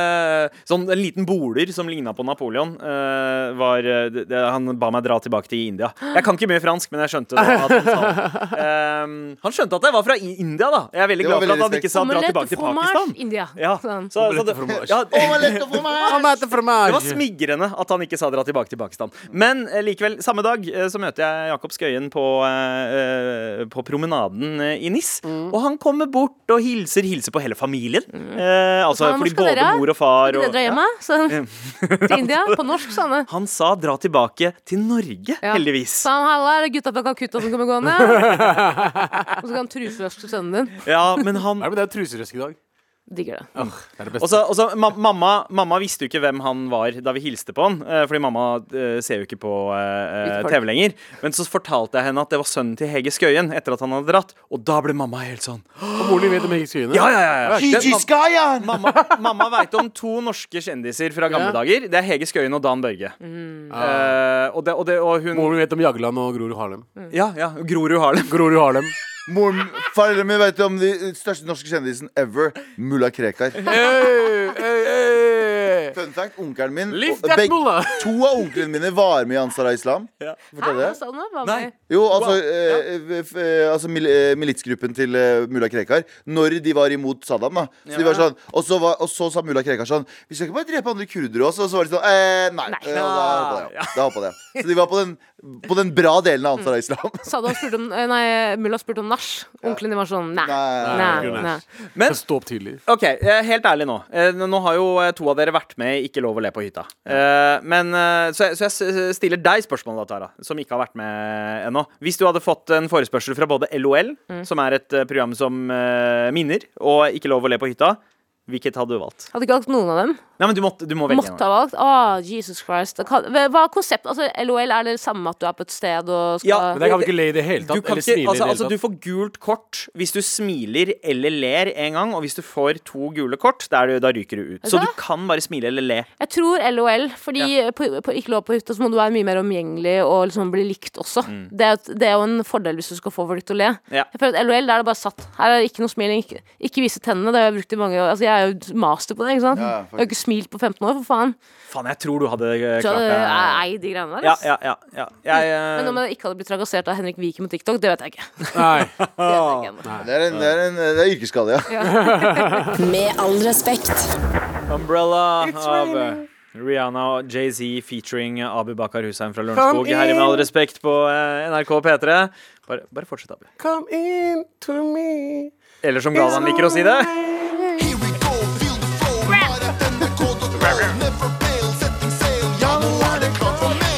Speaker 2: Eh, sånn en liten boler som ligna på Napoleon. eh, var, eh, det, det- han ba meg dra tilbake til India. Jeg kan ikke mye fransk, men jeg skjønte da at han sa det. Eh, han skjønte at jeg var fra I- India, da. Jeg er veldig
Speaker 4: Det
Speaker 2: glad for
Speaker 4: var
Speaker 2: at
Speaker 4: veldig
Speaker 2: han ikke sa dra
Speaker 1: Omelette
Speaker 2: tilbake til
Speaker 1: fromage,
Speaker 2: Pakistan.
Speaker 1: India.
Speaker 2: Ja,
Speaker 1: Sånn.
Speaker 2: så, så det,
Speaker 3: Omelette
Speaker 2: ja,
Speaker 4: Å, hva lett å få meg!
Speaker 3: Han heter
Speaker 2: det var
Speaker 3: fromage.
Speaker 2: smigrende at han ikke sa dra tilbake til Pakistan. Men eh, likevel, samme dag eh, så møter jeg Jakob Skøyen på, eh, eh, på promenaden eh, i NIS.
Speaker 1: Mm.
Speaker 2: Og han kommer bort og hilser, hilser på hele familien. Eh, altså,
Speaker 1: Hva
Speaker 2: fordi
Speaker 1: skal
Speaker 2: både
Speaker 1: dere?
Speaker 2: mor og far
Speaker 1: Skal
Speaker 2: og
Speaker 1: dere dra hjem, da? Så- Til India? På norsk, sa han.
Speaker 2: Han sa dra tilbake til Norge,
Speaker 1: Ja.
Speaker 2: heldigvis.
Speaker 1: Sa han halla, er det gutta fra Calcutta som kommer gående? Og så kan han truseløske sønnen din.
Speaker 2: Ja, men han
Speaker 3: Er det med deg truserøsk i dag?
Speaker 1: Digger det.
Speaker 3: Åh, det er det
Speaker 2: Og
Speaker 3: beste.
Speaker 2: så, og så ma mamma, mamma visste jo ikke hvem han var da vi hilste på han, eh, fordi mamma eh, ser jo ikke på eh,
Speaker 1: Hvite folk.
Speaker 2: TV lenger. Men så fortalte jeg henne at det var sønnen til Hege Skøyen etter at han hadde dratt, og da ble mamma helt sånn
Speaker 3: Og moren din vet om jeg ikke skal
Speaker 2: Ja, ja, ja, ja.
Speaker 4: Gigi
Speaker 2: Den-
Speaker 4: Skyan!
Speaker 2: Mamma, mamma veit om to norske kjendiser fra gamle
Speaker 3: Ja. Mm.
Speaker 2: dager. Det er Hege Skøyen og Dan Børge. Eh, og, det, og, det, og hun
Speaker 3: Moren min vet om Jagland og Grorud Harlem.
Speaker 1: Mm.
Speaker 2: Ja, ja, Grorud Harlem.
Speaker 3: Grorud Harlem.
Speaker 4: Moren Foreldrene mine vet om de største norske kjendisen ever, mulla Krekar.
Speaker 3: Hey, hey, hey.
Speaker 4: Fun fact, onkelen min
Speaker 3: Lift
Speaker 4: og
Speaker 3: that
Speaker 4: beg-
Speaker 3: mullah!
Speaker 4: To av onklene mine var med i Ansar Islam.
Speaker 2: Ja.
Speaker 4: Fortalte
Speaker 1: Hva
Speaker 4: jeg det?
Speaker 1: sa han da? Hva
Speaker 2: Nei.
Speaker 1: med-
Speaker 4: Jo, altså, eh, f- eh, altså mil, eh, militsgruppen til eh, mulla Krekar. Når de var imot Saddam, da. Så de var sånn, og, så var, og så sa mulla Krekar sånn Vi skal ikke bare drepe andre kurdere også. Og så var de sånn eh, Nei. Eh, og da hoppa det. Ja. Da hoppet det. Så de var på den, på den bra delen av Ansar Islam.
Speaker 1: Saddam spurte om eh, Nei, mulla spurte om nach. Onkelen din var sånn nei.
Speaker 4: Nei.
Speaker 1: Nei.
Speaker 3: Nei.
Speaker 1: nei.
Speaker 2: Men
Speaker 3: Stå opp tidlig.
Speaker 2: OK, eh, helt ærlig nå. Eh, Nå har jo eh, to av dere vært med i Ikke lov å le på hytta. Eh, Men, eh, så, jeg, så jeg s- stiller deg spørsmålet, da, Tara, som ikke har vært med ennå. Hvis du hadde fått en forespørsel fra både LOL,
Speaker 3: Mm.
Speaker 2: som er et eh, program som eh, minner, og Ikke lov å le på hytta, hvilket hadde du valgt?
Speaker 1: Hadde ikke valgt noen av dem.
Speaker 2: Nei, men du, måtte, du må velge. en av
Speaker 1: Måtte
Speaker 2: dem.
Speaker 1: ha valgt. Å, Jesus Christ. Da kan- Hva er konseptet? Altså, LOL, er det samme at du er på et sted og skal
Speaker 2: Ja,
Speaker 3: Men jeg kan ikke le i det hele
Speaker 2: Du,
Speaker 3: tatt.
Speaker 2: kan
Speaker 3: Eller
Speaker 2: ikke,
Speaker 3: smile
Speaker 2: altså,
Speaker 3: i det hele
Speaker 2: altså,
Speaker 3: tatt.
Speaker 2: du får gult kort hvis du smiler eller ler en gang, og hvis du får to gule kort, da, er du, da ryker du ut. Så
Speaker 1: hva?
Speaker 2: du kan bare smile eller le.
Speaker 1: Jeg tror LOL, fordi på, på ikke lov på hytta så må du være mye mer omgjengelig og liksom bli likt også. Det, er, jo et- det er jo en fordel hvis du skal få folk til å le.
Speaker 2: Mm. Ja.
Speaker 1: Jeg føler at LOL, der er det bare satt. Her er det ikke noe smiling. Ikke, ikke vise tennene. Det har jeg brukt i mange år. Altså, jeg er jo master på det, ikke sant?
Speaker 4: Ja, ja,
Speaker 1: jeg har ikke smilt på 15 år, for faen.
Speaker 2: Faen, jeg tror du hadde eh,
Speaker 1: Så
Speaker 2: klart
Speaker 1: jeg
Speaker 2: det.
Speaker 1: ei de greiene der.
Speaker 2: Ja,
Speaker 1: ass.
Speaker 2: ja, ja, ja. Jeg, eh,
Speaker 1: Men om jeg ikke hadde blitt trakassert av Henrik Viken på TikTok, det vet jeg ikke.
Speaker 3: Nei.
Speaker 1: Det vet jeg ikke ennå.
Speaker 4: Det er, en, det er, en, det er yrkesskade, ja.
Speaker 6: Med all respekt.
Speaker 2: Umbrella av eh, Rihanna og Jay-Z featuring Abu Bakar Hussein fra
Speaker 3: Kom
Speaker 2: Lørenskog.
Speaker 3: inn!
Speaker 2: Her i Med all respekt på eh, NRK P3. Bare, bare fortsett, Abu.
Speaker 3: Come in to me.
Speaker 2: Eller som Galvan liker å si det.
Speaker 7: Here we go, feel the flow. Right at NRK.no. Never fail, setting sail. Ja, nå er det klart for mer.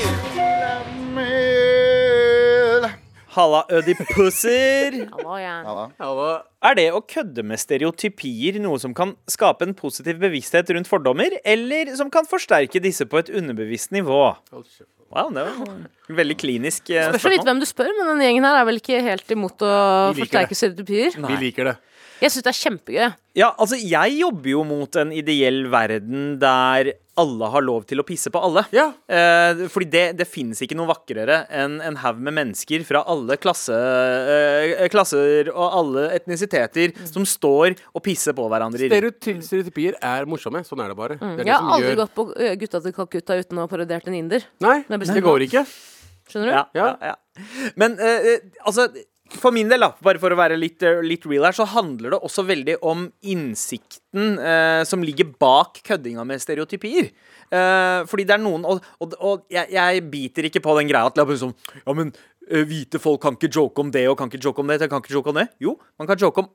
Speaker 2: Halla, ødipusser.
Speaker 1: Hallo, jeg.
Speaker 3: Halla.
Speaker 2: Er det å kødde med stereotypier noe som kan skape en positiv bevissthet rundt fordommer, eller som kan forsterke disse på et underbevisst nivå? Wow, det var et veldig klinisk eh,
Speaker 1: Spørs så vidt
Speaker 2: spørsmål.
Speaker 1: hvem du spør, men denne gjengen her er vel ikke helt imot å
Speaker 3: Vi liker
Speaker 1: forsterke stereotypier.
Speaker 3: Vi liker det.
Speaker 1: Jeg syns det er kjempegøy.
Speaker 2: Ja, altså, jeg jobber jo mot en ideell verden der alle har lov til å pisse på alle.
Speaker 3: Ja.
Speaker 2: Eh, fordi det, det finnes ikke noe vakrere enn en haug med mennesker fra alle klasse, eh, klasser og alle etnisiteter som står og pisser på hverandre. i ring.
Speaker 3: Stereoty- Stereotypier er morsomme. Sånn er det bare. Det er
Speaker 1: Mm. Jeg
Speaker 3: det
Speaker 1: har
Speaker 3: som
Speaker 1: aldri
Speaker 3: gjør
Speaker 1: gått på ø, Gutta til Calcutta uten å ha parodiert en inder.
Speaker 3: Nei,
Speaker 1: Nei,
Speaker 3: det går ikke.
Speaker 1: Skjønner du?
Speaker 2: Ja, ja.
Speaker 3: Ja.
Speaker 2: ja, Men eh, eh, altså for min del, da, bare for å være litt, eh, litt real her, så handler det også veldig om innsikten eh, som ligger bak køddinga med stereotypier. Eh, fordi det er noen Og, og, og jeg, jeg biter ikke på den greia at det er bare sånn, Ja, men eh, hvite folk kan ikke joke om det og kan ikke joke om det. Kan ikke joke om det. Jo, man kan joke om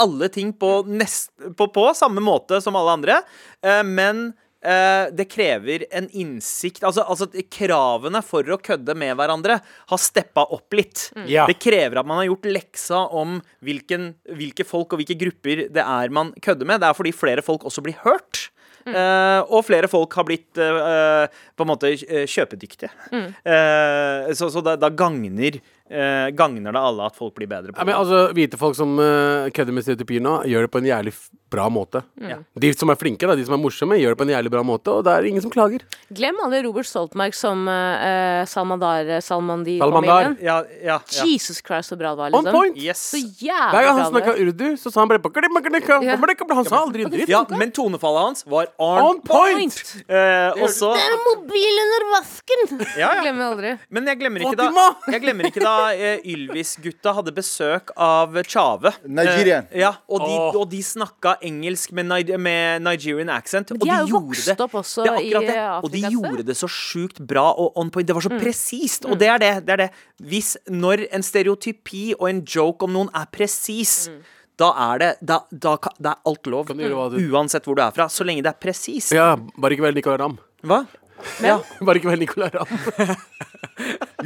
Speaker 2: alle ting på, nest, på, på samme måte som alle andre, eh, men Eh, det krever en innsikt altså, altså at kravene for å kødde med hverandre har steppa opp litt.
Speaker 3: Ja.
Speaker 2: Det krever at man har gjort leksa om hvilken, hvilke folk og hvilke grupper det er man kødder med. Det er fordi flere folk også blir hørt. Eh, og flere folk har blitt eh, eh, på en måte eh, kjøpedyktige. Eh, så så da, da gagner eh, gagner det alle at folk blir bedre
Speaker 3: Ja,
Speaker 2: på
Speaker 3: men
Speaker 2: det.
Speaker 3: altså, Hvite folk som eh, kødder med stereotypier nå, gjør det på en jævlig f- bra måte.
Speaker 1: Mm.
Speaker 3: De som er flinke, da, de som er morsomme, gjør det på en jævlig bra måte, og det er ingen som klager.
Speaker 1: Glem aldri Robert Stoltenberg som uh, Salmandar
Speaker 3: Salmandar.
Speaker 1: Salmandi-familien.
Speaker 2: Ja, ja, ja.
Speaker 1: Jesus Christ, så bra det var,
Speaker 3: On
Speaker 1: liksom.
Speaker 3: point!
Speaker 2: Yes.
Speaker 1: Så
Speaker 3: Hver
Speaker 1: jævlig
Speaker 3: gang han
Speaker 1: bra det
Speaker 3: snakka urdu, så sa han bare bakadip, bakadip,
Speaker 1: Ja.
Speaker 3: bakadip, Han sa aldri dritt.
Speaker 2: Ja, men tonefallet hans var on,
Speaker 3: On point!
Speaker 1: Point!
Speaker 2: Eh, og så
Speaker 1: Det er en mobil under vasken!
Speaker 2: ja, ja.
Speaker 1: Glemmer jeg aldri.
Speaker 2: Men jeg glemmer ikke da,
Speaker 3: Fatima!
Speaker 2: jeg glemmer ikke da eh, Ylvis-gutta hadde besøk av Tjave.
Speaker 4: Nigerian.
Speaker 2: Eh, ja, og de,
Speaker 3: Åh.
Speaker 2: og de snakka engelsk med, Ni- med Nigerian accent. Og
Speaker 1: de er jo
Speaker 2: gjorde
Speaker 1: vokst
Speaker 2: det-
Speaker 1: opp også
Speaker 2: det er akkurat
Speaker 1: i eh,
Speaker 2: det.
Speaker 1: Afrika Mm.
Speaker 2: Og de
Speaker 1: et sted.
Speaker 2: gjorde det så sjukt bra og on point. Det var så presist. Og det er det, det er det. Hvis når en stereotypi og en joke om noen er presis,
Speaker 1: Mm.
Speaker 2: da er det da, da, ka- da er alt lov.
Speaker 3: Kan du gjøre hva du-
Speaker 2: Uansett hvor du er fra. Så lenge det er presist.
Speaker 3: Ja, bare ikke vær Nicolay Ramm.
Speaker 2: Hva? Ja.
Speaker 3: Bare ikke vær Nicolay Ramm.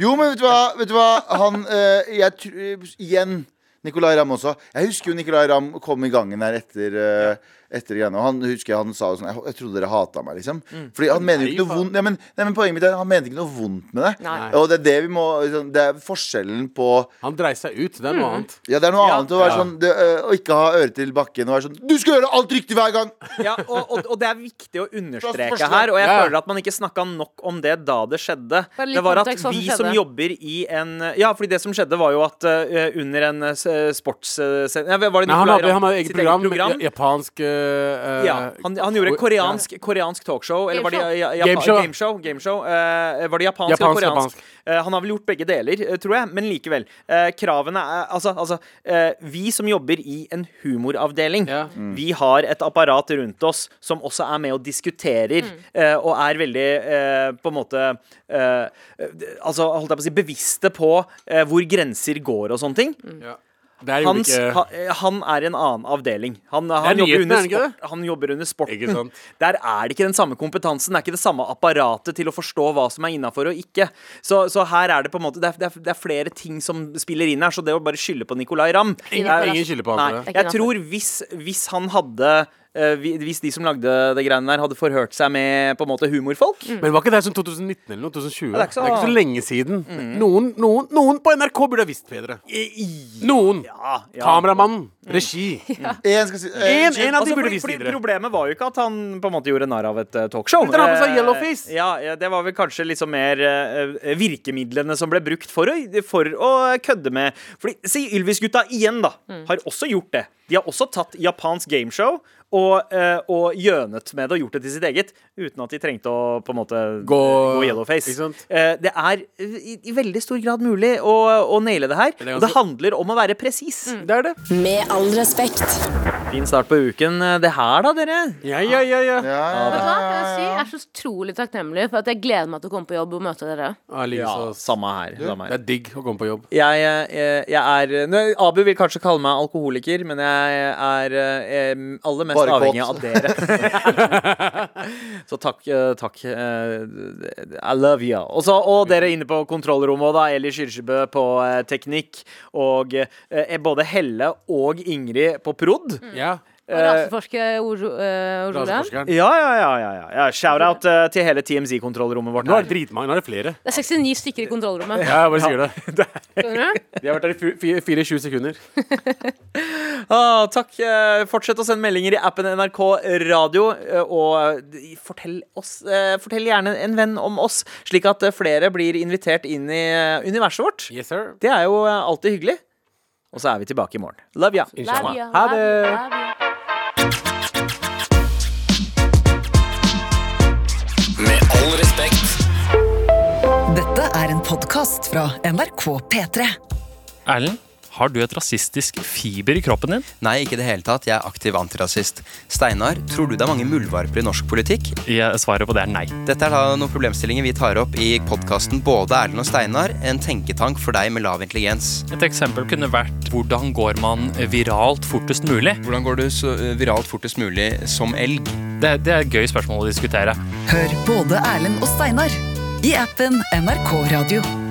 Speaker 4: Jo, men vet du hva? Vet du hva? Han eh, jeg, tr- eh, Igjen Nicolay Ramm også. Jeg husker jo Nicolay Ramm kom i gangen her etter eh, Etter greiene, og han husker jeg, han sa jo sånn Jeg, jeg trodde dere hata meg, liksom. Fordi han mener jo ikke noe
Speaker 3: faen.
Speaker 4: vondt Nei, men, nei, men poenget mitt er han mente ikke noe vondt med det.
Speaker 1: Nei.
Speaker 4: Og det er det vi må liksom, Det er forskjellen på
Speaker 3: Han dreier seg ut. Det er
Speaker 1: Mm.
Speaker 3: noe annet.
Speaker 4: Ja, det er noe
Speaker 2: Ja.
Speaker 4: annet å være
Speaker 3: Ja.
Speaker 4: sånn det, eh, Å ikke ha øret til bakken og være sånn Du skal gjøre alt riktig hver gang!
Speaker 2: ja, og, og, og det er viktig å
Speaker 4: Først-
Speaker 2: understreke
Speaker 4: først-
Speaker 2: her, og jeg
Speaker 3: Ja.
Speaker 2: føler at man ikke snakka nok om det da det skjedde.
Speaker 1: Bare litt
Speaker 2: Det var at
Speaker 1: kontekst hva som
Speaker 2: vi som
Speaker 1: skjedde.
Speaker 2: jobber i en Ja, fordi det som skjedde, var jo at eh, under en sportssending ja, Var det Nicolai
Speaker 3: Nei, han hadde, han hadde
Speaker 2: Ramm
Speaker 3: eget
Speaker 2: sitt
Speaker 3: program.
Speaker 2: eget program?
Speaker 3: ja, Japansk eh,
Speaker 2: Ja, han, han gjorde
Speaker 3: hvor-
Speaker 2: koreansk, koreansk talkshow. Eller var det ja, ja,
Speaker 3: Gameshow.
Speaker 2: Japa- gameshow? gameshow. Eh, var det japansk,
Speaker 3: Japansk,
Speaker 2: eller koreansk?
Speaker 3: japansk.
Speaker 2: Eh, han har vel gjort begge deler, eh, tror jeg, men likevel. Eh, kravene er Altså, altså eh, vi som jobber i en humoravdeling,
Speaker 3: Ja.
Speaker 2: vi har et apparat rundt oss som også er med og diskuterer, eh, og er veldig eh, på en måte eh, Altså, holdt jeg på å si, bevisste på eh, hvor grenser går og sånne ting.
Speaker 3: Ja. Der gjorde
Speaker 2: Hans,
Speaker 3: ikke
Speaker 2: ha, eh, han er en annen avdeling. Han,
Speaker 3: er
Speaker 2: han, jobber, under
Speaker 3: nyhetene, er det ikke
Speaker 2: sport, han jobber under
Speaker 3: Ikke
Speaker 2: sporten.
Speaker 3: sant?
Speaker 2: Der er det ikke den samme kompetansen. Det er ikke det samme apparatet til å forstå hva som er innafor og ikke. Så, så her er det på en måte det er, det, er, det er flere ting som spiller inn her, så det å bare skylde på Nicolay Ramm
Speaker 3: Ingen,
Speaker 1: Nei,
Speaker 3: ingen skylder på han
Speaker 2: Nei,
Speaker 3: for det.
Speaker 1: ikke
Speaker 2: jeg tror hvis, hvis han hadde eh, vi- Hvis de som lagde det greiene der, hadde forhørt seg med på en måte humorfolk
Speaker 3: Men var ikke det sånn 2019 eller noe? 2020?
Speaker 2: det er ikke så- Mm.
Speaker 3: lenge siden. Noen, noen, noen på NRK burde ha visst bedre.
Speaker 2: i- i-
Speaker 3: Noen.
Speaker 2: ja, Mm. ja.
Speaker 3: Kameramann. Regi.
Speaker 4: En skal si eh,
Speaker 3: En, en av
Speaker 2: Altså,
Speaker 3: de burde
Speaker 2: fordi,
Speaker 3: visst
Speaker 2: fordi
Speaker 3: videre.
Speaker 2: Problemet var jo ikke at han på en måte gjorde narr av et eh, talkshow.
Speaker 3: Men han har på seg
Speaker 2: Eh,
Speaker 3: yellowface.
Speaker 2: Ja, ja, Det var vel kanskje liksom mer eh, eh, virkemidlene som ble brukt for å, for å kødde med Fordi, Si Ylvis-gutta igjen, da.
Speaker 3: Mm.
Speaker 2: Har også gjort det. De har også tatt japansk gameshow og, eh, og gjønet med det og gjort det til sitt eget. Uten at de trengte å på en måte
Speaker 3: Gå,
Speaker 2: gå yellowface.
Speaker 3: ikke sant?
Speaker 2: Eh, det er i, i veldig stor grad mulig å, å naile det her.
Speaker 3: er
Speaker 2: Og det
Speaker 3: ganske-
Speaker 2: handler om å være presis.
Speaker 3: Det er det.
Speaker 6: Med all respekt.
Speaker 2: Fin start på uken. eh, Det her, da, dere.
Speaker 3: Ja, ja, ja. ja.
Speaker 4: ja, ja,
Speaker 1: Vet du hva? Kan Jeg, si? jeg er så utrolig takknemlig for at jeg gleder meg til å komme på jobb og møte dere.
Speaker 3: Ah, like
Speaker 2: Ja,
Speaker 3: så.
Speaker 2: samme her. Samme
Speaker 3: Det
Speaker 2: her.
Speaker 3: er digg å komme på jobb.
Speaker 2: Jeg, eh, jeg er nå, Abu vil kanskje kalle meg alkoholiker, men jeg er eh, em, aller mest
Speaker 4: Bare kåt.
Speaker 2: avhengig av dere. Så takk. eh, takk eh, I love you. Og så- og dere inne på kontrollrommet, da. Eli Kyrkjebø på eh, teknikk. Og eh, både Helle og Ingrid på prod.
Speaker 3: Ja.
Speaker 1: Og raseforsker Oro- eh, Aurora.
Speaker 3: Raseforskeren.
Speaker 2: Ja, ja, ja. ja, ja. ja Shout-out eh, til hele TMZ-kontrollrommet vårt.
Speaker 3: Nå
Speaker 2: Her.
Speaker 3: er det dritmange. Nå er det flere.
Speaker 1: Det er 69 stykker i kontrollrommet.
Speaker 3: Ja, jeg bare sier det.
Speaker 1: Skjønner du?
Speaker 3: De har vært der i fu- fi- 24 sekunder.
Speaker 2: Ah, takk. Eh, Fortsett å sende meldinger i appen NRK Radio. eh, Og eh, fortell, oss, eh, fortell gjerne en venn om oss, slik at eh, flere blir invitert inn i eh, universet vårt.
Speaker 3: Yes, sir.
Speaker 2: Det er jo eh, alltid hyggelig. Og så er vi tilbake i morgen. Love ya.
Speaker 1: Love you,
Speaker 3: Ha
Speaker 1: love you,
Speaker 3: det.
Speaker 1: love you.
Speaker 5: Med all respekt.
Speaker 8: Dette er en podkast fra NRK P3.
Speaker 9: Erlend, har du et rasistisk fiber i kroppen din?
Speaker 10: Nei, ikke i det hele tatt. Jeg er aktiv antirasist. Steinar, tror du det er mange muldvarper i norsk politikk?
Speaker 9: Jeg svaret på det er nei.
Speaker 10: Dette er da noen problemstillinger vi tar opp i podkasten Både Erlend og Steinar, en tenketank for deg med lav intelligens.
Speaker 9: Et eksempel kunne vært hvordan går man viralt fortest mulig?
Speaker 10: Hvordan går du så eh, viralt fortest mulig som elg?
Speaker 9: Det, det er et gøy spørsmål å diskutere.
Speaker 8: Hør både Erlend og Steinar i appen NRK Radio.